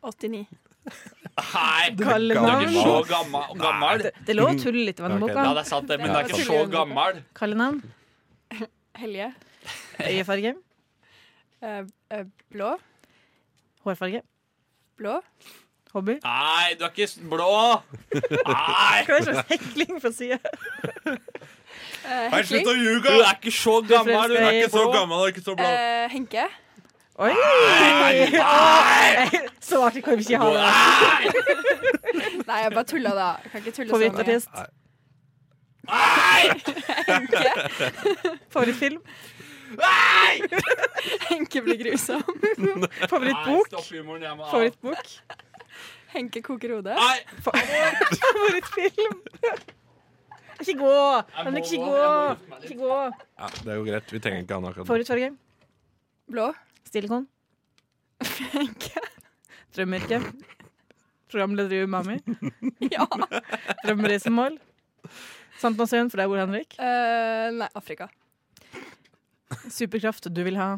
F: 89.
D: Nei,
E: Kallenavn.
D: så gammel. gammel.
E: Det er lov å tulle litt i
D: Ja,
E: vannboka.
D: det er sant, det, men det er ikke så gammel.
E: Kallenavn.
F: Helje.
E: Øyefarge.
F: Eh, eh, blå.
E: Hårfarge.
F: Blå.
E: Hobby.
D: Nei, du er ikke s- blå! Nei!
E: Hva er det slags hekling fra sida?
F: Eh, hekling.
C: å
D: Du
C: ljuge!
D: er ikke så gammel! Du er ikke så gammel.
C: gammel og ikke så
F: Eh, Henke.
E: Oi! Nei, Så artig kan vi ikke ha det.
F: Nei, jeg bare tulla, da. Jeg kan ikke tulle sånn.
E: Favorittartist. *laughs* Favorittfilm.
F: Henke blir grusom.
D: Nei,
E: Favorittbok.
D: stopp humoren, jeg må av.
E: Favorittbok.
F: Henke koker hodet.
C: Ah!
D: Nei,
E: Favorittfilm. *laughs* Ikke gå! Men ikke gå! Ikke gå.
C: Ja, det er jo greit. Vi trenger ikke han akkurat nå.
E: Favorittfarge.
F: Blå.
E: Silikon. Drømmeyrke. Programleder i Umami.
F: *laughs* Ja.
E: Drømmereisemål. Sandnasøyen, for det er hvor Henrik.
F: Eh, nei, Afrika.
E: Superkraft du vil ha.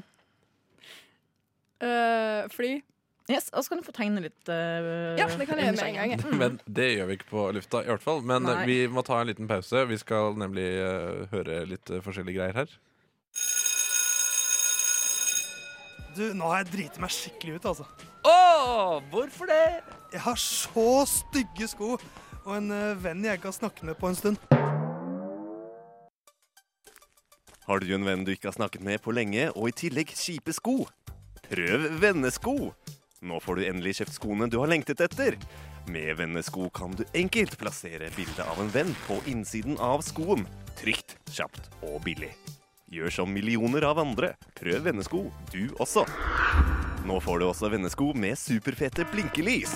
F: Eh, fly.
E: Yes, Og så kan du få tegne litt. eh,
F: Ja, det kan jeg gjøre med en gang. jeg.
C: *laughs* Men det gjør vi ikke på lufta, i hvert fall. Men eh,
E: Nei.
C: vi må ta en liten pause. Vi skal nemlig eh, høre litt eh, forskjellige greier her.
I: Du, nå har jeg driti meg skikkelig ut, altså.
D: Åh, hvorfor det?
I: Jeg har så stygge sko og en eh, venn jeg ikke har snakket med på en stund.
G: Har du en venn du ikke har snakket med på lenge, og i tillegg kjipe sko? Prøv vennesko! Nå får du endelig kjøpt skoene du har lengtet etter. Med vennesko kan du enkelt plassere bildet av en venn på innsiden av skoen. Trygt, kjapt og billig. Gjør som millioner av andre. Prøv vennesko, du også. Nå får du også vennesko med superfete blinkelys.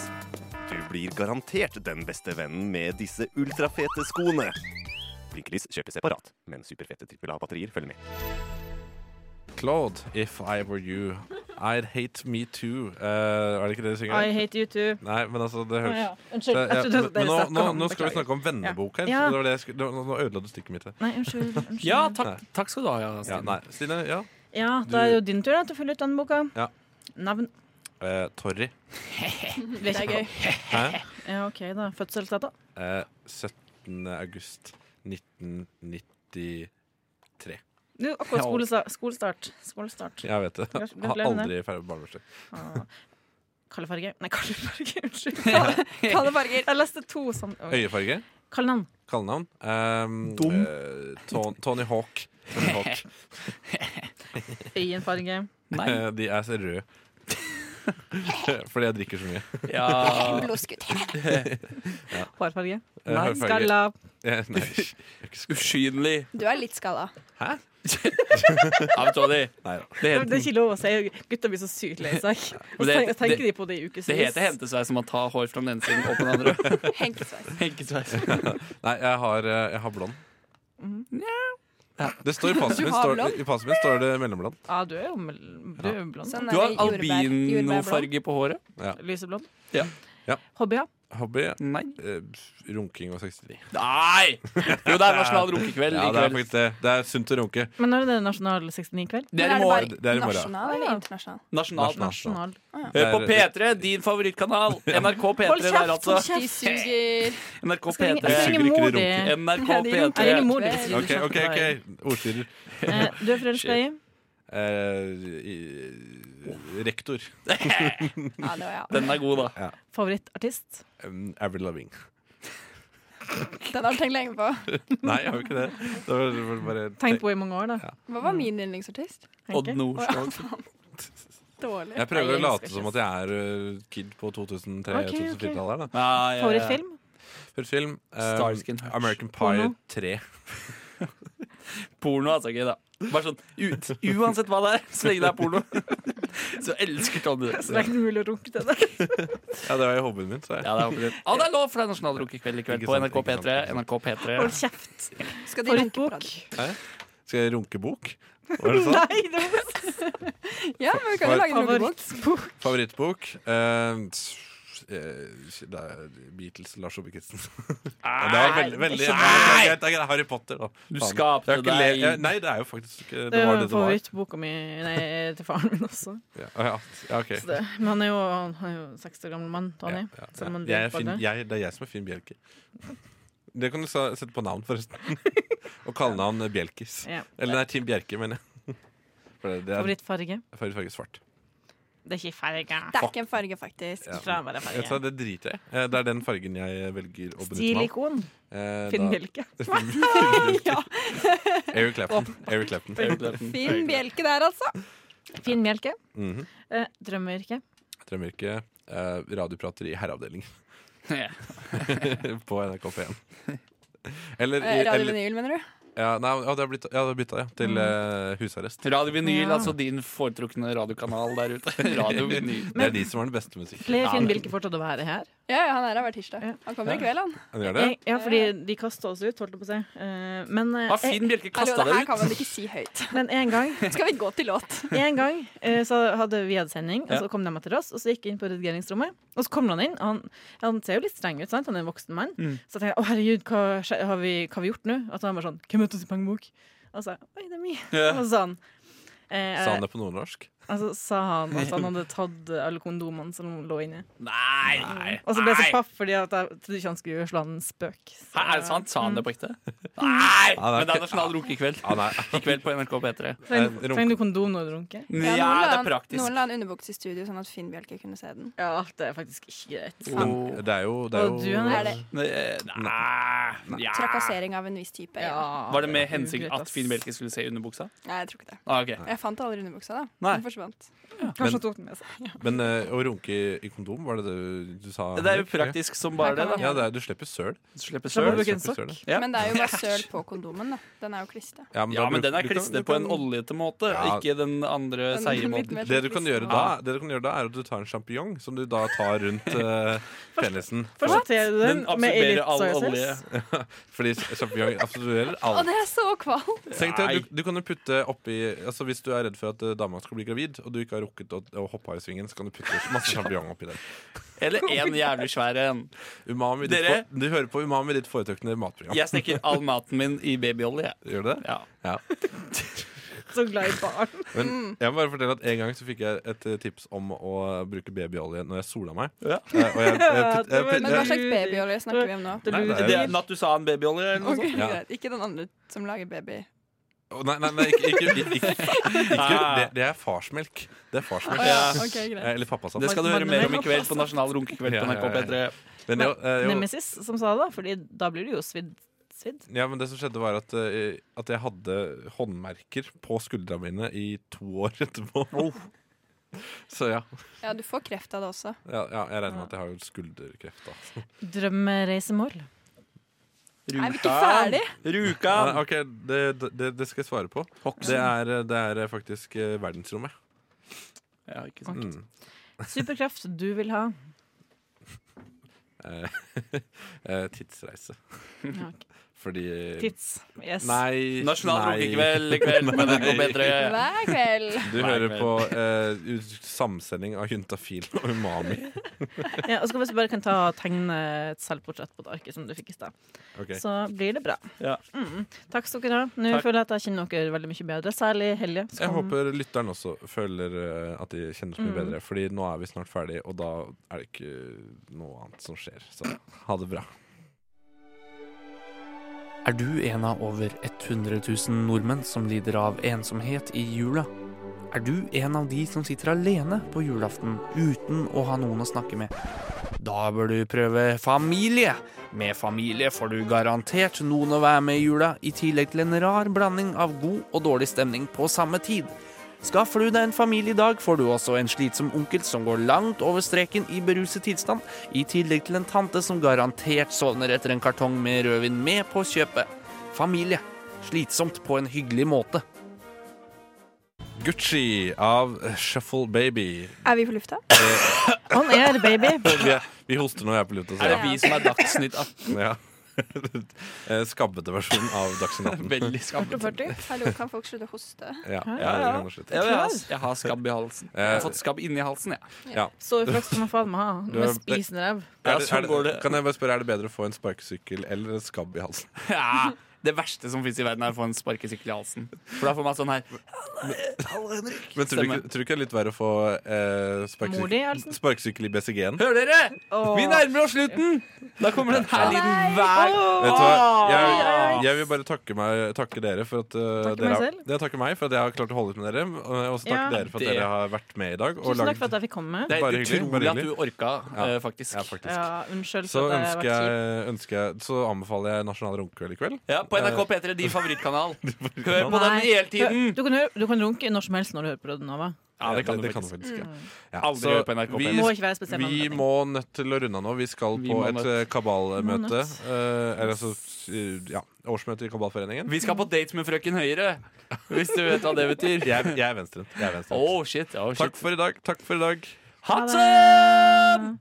G: Du blir garantert den beste vennen med disse ultrafete skoene. Blinkelys kjøpes separat, men superfete trippel A-batterier følger med.
C: Claude, If I Were You. I'd Hate Me Too. Eh, er det ikke det du synger?
E: I hate you too.
C: Nei, men altså, det høres
E: ja. Unnskyld.
C: Ja, ja,
E: Jeg trodde
C: men
E: at
C: men
E: dere
C: nå,
E: snakket
C: nå,
E: om-
C: nå skal vi
E: beklager.
C: snakke om vennebok her.
E: Ja.
C: så Det var det jeg skulle, nå, nå ødela du stikket mitt. her.
E: Nei, unnskyld. unnskyld.
D: Ja, takk, takk skal du ha, ja,
C: Ja,
D: Stine.
C: nei, Stine, ja.
E: Ja,
C: Du-
E: Da er det jo din tur da, til å følge ut denne boka.
C: Ja.
E: Navn
C: Eh, Torry.
E: Det er gøy.
C: Hæ?
E: Ja, OK, da. Fødselsdato.
C: Eh, 17. august 1990
E: Du, Akkurat
D: Ja.
E: skolesa- skolestart. skolestart.
C: Jeg vet det.
E: Gratulerer
C: Har
E: med
C: aldri ferdig med barnebursdag.
E: Ah. Kallefarge Nei, kallefarge.
C: *laughs*
E: Unnskyld. Kalle- Kallefarger. Jeg leste to sånn. Okay.
C: Øyefarge.
E: Kallenavn.
C: Kallenavn. Um,
D: Dum.
C: eh, Ton, Tony Hawk. Tony
F: *laughs*
C: Hawk.
E: Øyenfarge.
D: Nei.
C: Eh, de er så røde. *laughs* Fordi jeg drikker så mye.
D: Ja.
E: Hårfarge.
C: Eh,
D: Nei,
C: hårfarge.
E: Skalla.
C: Eh, nei, hysj.
D: *laughs* Usynlig.
F: Du er litt skalla.
D: Ja, vet du hva det
C: Nei da.
D: Det
E: Det er
D: heter,
E: ikke lov å si. Gutta blir så sykt lei seg.
D: Men
E: Og så
D: det-
E: tenker- tenker
D: det-
E: de på det i ukevis.
D: det heter hentesveis når man tar hår fra den ene siden og på den *laughs* andre.
F: Henkesveis.
D: Henkesveis.
C: Nei, jeg har, eh, jeg har blond.
D: Ja.
C: Det står I passet
F: Mm-hmm. Du
C: mitt
F: har
C: står,
F: blond?
C: i passet mitt står det mellomblond.
E: Ja, du er jo mel- du er jo blond.
F: Sånn
D: Du
F: er
D: har
F: det jordbær- jordbærblå.
D: albinofarge på håret?
E: Lyseblond.
D: Ja.
C: Ja.
E: Hobbyer.
C: Hobby
D: Nei.
C: eh, runking og 69.
D: Nei! Jo, det er nasjonal runkekveld
C: Ja,
D: i
C: det er
D: kveld.
C: faktisk det. Det er sunt å runke.
E: Men når er det nasjonal 69-kveld?
D: Det er i
F: Men
D: morgen.
C: Det er i morgen.
F: Nasjonal eller
E: Ja.
F: internasjonal?
D: Nasjonal.
C: Nasjonal.
E: Nasjonal.
D: Hør Eh, på P3, din
C: *laughs*
D: favorittkanal. NRK P3
E: Hold
D: der,
E: kjeft!
D: altså. Eh,
E: Hold kjeft.
F: De suger.
D: NRK
E: Jeg
D: P3.
E: ringer- Jeg
C: Suger ikke
E: ringer
C: de
E: mor di. *laughs*
C: runke?
D: NRK
F: Ja, de runker.
E: Jeg ringer
D: P3.
E: mor di. hvis du
C: OK,
E: snakker
C: OK.
E: med
C: ok
E: deg.
C: Ordstyrer.
E: Eh, Du er forelska i
C: Eh, i- rektor.
F: Ja, det var jeg.
D: Den er god, da.
E: favorittartist.
C: Um, Avril Loving.
F: Den har du tenkt lenge på.
C: *laughs* Nei, jeg har jo ikke det. det var, det var bare,
E: Tenkt på i mange år, da.
F: Hva var min yndlingsartist?
D: Odd
E: Henke.
D: Nordstoga.
F: Dårlig.
C: Jeg prøver
E: Nei,
C: å
E: jeg
C: late
E: elsker
C: som at jeg er uh, kid på
E: Ok, ok.
C: 2003-2004-tallet.
D: Ja, ja, ja.
E: Favorittfilm?
C: Første film. eh,
D: Starsky and Hutch.
C: American Pie
D: Porno.
C: 3.
D: Porno er så gøy, da. Bare sånn, ut, Uansett hva det er, så lenge det er porno. *laughs* Så jeg elsker Tony Dress.
E: Så det er ikke mulig å runke til det.
C: Ja, det var jo hobbyen min. Så jeg.
D: Ja, det er hoppet litt. Ja, det er lov, for det er nasjonal runkekveld i kveld
C: Ikke
D: på
C: sant,
D: NRK
C: ikke
D: P3.
C: sant.
D: NRK P3
E: Hold kjeft.
F: Skal de
E: For en
F: runke på
E: bok.
F: deg?
C: Skal jeg runke bok? Var det sånn?
E: *laughs* Nei, det var
F: Ja, men vi kan jo lage en runkebok.
C: Favorittbok?
E: favorittbok.
C: Eh, s- eh, det er Beatles, Lars Ove Christensen. Ja, det var veldig, veldig
E: ikke
C: Nei, det er greit, det er greit. Harry Potter, da.
D: Du
C: Faen.
D: skapte
C: Jeg har ikke
D: deg-
C: le- jeg- Nei, det er jo faktisk ikke
E: Det
C: Det var det
E: var
C: det var.
E: favorittboka mi nei, til faren min også.
C: Ja, ja, ja, ok.
E: Så det, men han er jo, han er jo 60 år gammel mann,
C: Ja,
E: Tony.
C: ja,
E: Selv
C: ja.
E: om han
C: Jeg er
E: blir
C: Finn-
E: bare-
C: jeg, det er jeg som er Finn Bjelke. Det kan du sa- sette på navn,
E: *laughs*
C: forresten. Og kallenavn Bjelkis.
E: Ja.
C: Eller nei, Team Bjerke, mener jeg. *laughs* For det, det er
E: Favorittfarge.
C: favorittfarge svart.
E: Det er ikke farge.
F: Det er ikke en farge, faktisk.
C: Ja.
E: Fra å være
C: Vet du hva,
E: farge.
C: det driter jeg i. Eh, Det er den fargen jeg velger å benytte meg av.
E: Stilikon.
C: Eh,
E: Finn
C: da-
E: Bjelke.
C: Finn
F: Ja.
C: *laughs*
E: *laughs*
C: Bjelke. Eric Clapton. Eric Clapton.
F: Fin bjelke der, altså.
E: Finn Bjelke.
C: Mhm.
E: Eh, Drømmeyrke.
C: Tremyrke. Eh, radioprater i herreavdelingen
D: *laughs* Ja.
C: *laughs* på NRK P1.
E: *laughs*
C: Eller, i-
F: Eh, Radio
C: eller
F: Vinyl, mener du?
C: ja, nei, ja, det har blitt, ja, det har bytta, ja.
E: Mm.
C: Til eh, husarrest.
D: Radio Vinyl,
E: Ja.
D: altså din foretrukne radiokanal der
C: *laughs*
D: ute. Radio Vinyl.
C: Det er de som har den beste musikken.
E: Pleier Finn Bjelke fortsatt å være her?
F: Ja, ja, han er her hver tirsdag. Han kommer i kveld, han.
C: Han gjør det?
E: Jeg, ja, fordi de kasta oss ut, holdt jeg på å si. Eh, Men, eh,
D: Har Finn Bjelke
F: Hallo,
D: kasta
F: det her
D: deg ut?
F: kan man ikke si høyt.
E: en- men en gang
F: Skal vi gå til låt?
E: En gang eh, så hadde vi hatt sending, og
D: Ja.
E: så kom de etter oss. Og så gikk jeg inn på redigeringsrommet, og så kom han inn. og Han, han ser jo litt streng ut, sant? han er en voksen mann.
D: Mm.
E: Så jeg tenkte jeg å herregud, hva, skje- har vi, hva har vi gjort nå? Og så han bare sånn Hvem møtte oss i pengebok? Og så sa jeg, oi, det er meg.
D: Ja.
E: Og så sa han eh,
C: Sa han det på nordnorsk?
E: Og så sa han at han hadde tatt alle kondomene som lå inni.
D: Nei! nei.
E: Og så ble jeg så paff fordi at jeg trodde ikke han skulle slå en spøk. Så-
D: Hæ, er det sant? Sa han det på ekte? Nei!
C: Ja, det er
D: Men det er
C: ikke-
D: nasjonal runkekveld.
C: Ah, nei.
D: I kveld på NRK P3.
E: Trenger,
C: Eh,
E: du-
C: runk-
E: trenger du kondom når du runker?
D: Ja,
F: noen la
D: det er
F: han-
D: praktisk.
F: Noen la en underbuks i studio, sånn at Finn Bjelke kunne se den.
E: Ja, det er faktisk ikke greit.
C: Men det er jo, det er
E: Og du,
C: jo
E: Henrik?
F: Er det
D: Nei ja.
F: trakassering av en viss type? Ja.
D: Var det med
E: ugreit,
D: hensikt at
E: ass.
D: Finn Bjelke skulle se underbuksa?
F: Nei, jeg tror ikke det.
D: Ah, ok.
F: Jeg fant aldri underbuksa, da.
D: Nei.
F: Den forsvant.
E: Kanskje
C: Men-
E: han tok den med seg.
C: Men eh, å runke i- i kondom, var det det du sa?
D: Det er jo
C: Henrik?
D: praktisk som bare det. da
C: Ja, det er, du slipper søl.
D: Du slipper
E: Da
D: søl.
E: må du bruke
C: Søppel,
E: en sokk.
C: søppel.
D: Ja.
F: Men det er jo
D: *laughs*
F: bare søl på kondomen, da. Den er jo kliste.
C: men
D: Ja,
C: da
D: men
C: bruk-
D: den er
C: du kan-
D: klistret
C: du
D: på
C: kan-
D: en oljete måte,
C: Ja.
D: ikke den andre
F: Den-
D: seige
F: litt
D: måten.
F: mer
C: det du kan
F: kliste.
C: gjøre
D: Ah.
C: da, det du kan gjøre da, er at du tar en sjampinjong som du da tar
D: *laughs*
C: rundt eh, penisen.
E: Først sorterer du den
D: Den
E: med
D: absorberer
E: litt
D: all olje.
E: soyasaus.
C: Fordi sjampinjong absorberer
F: Å,
C: alt.
F: det er så kvalmt!
C: Tenk deg,
D: Nei.
C: du, du kan jo putte oppi altså Hvis du er redd for at eh, dama skal bli gravid, og du ikke har rukket å, å hoppe av i svingen, så kan du putte masse sjampinjong oppi der.
D: Eller en jævlig svær en.
C: Umami, ditt
D: Dere-
C: for, du hører på Umami, ditt foretrukne matprogram.
D: Jeg steker all maten min i babyolje. jeg.
C: Gjør du det?
D: Ja.
C: Ja.
E: Så glad i *laughs* barn.
C: Men
F: Mm.
C: jeg må bare fortelle at en gang så fikk jeg et eh, tips om å bruke babyolje når jeg sola meg.
D: Ja.
C: Eh, Og jeg, jeg, putt- jeg, putt-
F: Men hva slags babyolje snakker vi om nå?
E: Det
C: Nei, det
E: lurer
C: er-
D: Det er Nattusan babyolje eller noe
F: Ok,
D: sånt.
C: Ja.
F: greit. Ikke den andre som lager baby.
C: Å, nei, nei, nei, ikke, ikke, ikke, ikke,
D: Ah.
C: det, det er farsmelk. Det er farsmelk.
F: Å ja, ok, greit.
C: Eh, Eller pappasaft.
D: Det skal du høre mer om i kveld på Nasjonal runkekveld
C: Ja,
D: på
C: ja,
D: NRK P3.
C: Men, jo, eh, jo,
E: Nemesis, som sa det, Fordi da blir du jo svidd. svidd.
C: ja, men det som skjedde, var at, eh, at jeg hadde håndmerker på skuldra mine i to år etterpå.
D: Oh.
C: *laughs* Så ja,
F: Ja, du får kreft av det også.
C: ja, ja. Jeg regner med at jeg har jo skulderkreft. da
E: Drømmereisemål.
F: Er vi ikke ferdig?
D: Rjukan!
C: Nei, ok, det, det, det skal jeg svare på. Det er, det er faktisk eh, verdensrommet.
D: Ja, ikke sant.
C: Mm.
E: Superkraft du vil ha.
C: Eh, *laughs* eh, tidsreise.
E: Ja, ok.
C: *laughs* Fordi
E: Tids. Yes.
C: Nei.
D: Nasjonal
C: nei.
D: runkekveld i kveld på NRK
C: *laughs*
D: P3.
F: Hver kveld.
C: Du
D: Nei,
C: hører
D: men-
C: på eh, ut- samsending av Juntafil og
E: *laughs*
C: Umami.
E: Ja, og så kan vi bare kan ta og tegne et selvportrett på det arket som du fikk i stad.
C: Ok.
E: Så blir det bra.
D: Ja.
E: Mm. Takk skal dere ha. Nå
D: Takk.
E: føler jeg at jeg kjenner dere veldig mye bedre. Særlig Helje. som
C: Jeg
E: kom-
C: håper lytteren også føler eh, at de kjenner så mye
E: Mm.
C: bedre. Fordi nå er vi snart ferdig, og da er det ikke noe annet som skjer. Så ha det bra.
D: Er du en av over 100 000 nordmenn som lider av ensomhet i jula? Er du en av de som sitter alene på julaften uten å ha noen å snakke med? Da bør du prøve familie. Med familie får du garantert noen å være med i jula, i tillegg til en rar blanding av god og dårlig stemning på samme tid. Skaffer du deg en familie i dag, får du også en slitsom onkel som går langt over streken i beruset tilstand, i tillegg til en tante som garantert sovner etter en kartong med rødvin med på kjøpet. Familie. Slitsomt på en hyggelig måte.
C: Gucci av Shuffle Baby.
F: Er vi på lufta?
E: On air, baby.
C: Vi, er, vi hoster når jeg er på lufta. så
D: Er det
C: ja.
D: vi som er Dagsnytt 18?
C: Ja. *laughs* Eh, Skabbete versjon av Dagsnytt 18.
D: Veldig skabbete.
F: 40? Hallo, kan folk slutte å hoste?
C: Ja, ja,
D: Ja,
C: det
D: ja.
C: kan du slutte.
D: Ja, jeg, har, jeg har skabb i halsen.
C: Eh.
D: Jeg har fått skabb inni halsen, jeg.
E: Så uflaks kan man faen meg ha
C: Du er-
E: med spisende ræv.
D: Ja,
C: Er det,
D: sånn
C: er
D: går
C: det,
D: det.
C: kan jeg bare spørre, er det bedre å få en sparkesykkel eller en skabb i halsen?
D: *laughs* Ja, det verste som fins i verden, er å få en sparkesykkel i halsen. For da får man sånn her
C: Men tror du,
D: Stemmer.
C: ikke, tror du ikke det er litt verre å få eh,
E: Mor di i
C: sparkesykkel,
E: halsen?
C: sparkesykkel i BCG-en?
D: Hører dere? Vi nærmer oss slutten! Da kommer den her lyden hver
C: Vet du hva? Jeg, jeg vil bare takke, meg, takke dere for at eh,
E: Takke
C: dere
E: meg
C: har,
E: selv.
C: Jeg takker meg for at jeg har klart å holde ut med dere. Og også takke
E: Ja.
C: dere for at
D: Det-
C: dere har vært med i dag. Og
E: Tusen takk
C: lagd
E: for at jeg fikk komme.
D: Det
C: Bare
D: er
C: hyggelig,
D: utrolig
C: bare
D: at du orka,
C: Ja.
D: eh, faktisk.
C: ja, faktisk.
E: Ja, unnskyld
C: Så
E: for at jeg har
C: ønsker
E: vært kjip.
C: jeg, ønsker jeg Så anbefaler jeg Nasjonal runkekveld i kveld.
D: Ja, på NRK P3,
C: Eh.
D: din
C: *laughs*
D: favorittkanal. Hør på den
E: Nei.
D: hele tiden!
E: Du kan, høre, du kan runke når som helst når du hører på Radio Nova.
D: Ja, det kan du
C: kan du
D: faktisk.
C: faktisk ikke. Ja,
D: Aldri
C: så
D: hør på NRK
C: vi-
D: P3.
E: Det må ikke være spesiell
C: Vi
E: anledning.
C: må nødt til å runde av nå. Vi skal
D: Vi
C: på
D: må
C: et
D: nødt.
C: eh, kabalmøte.
E: nødt.
C: eh, Eller altså eh, ja, årsmøte i Kabalforeningen.
D: Vi skal på date med frøken Høyre, hvis du vet hva det betyr.
C: Jeg, jeg er venstrehendt. Jeg er venstrehendt.
D: Oh, shit. Oh, shit.
C: Takk for i dag. Takk for i dag.
D: Hatten!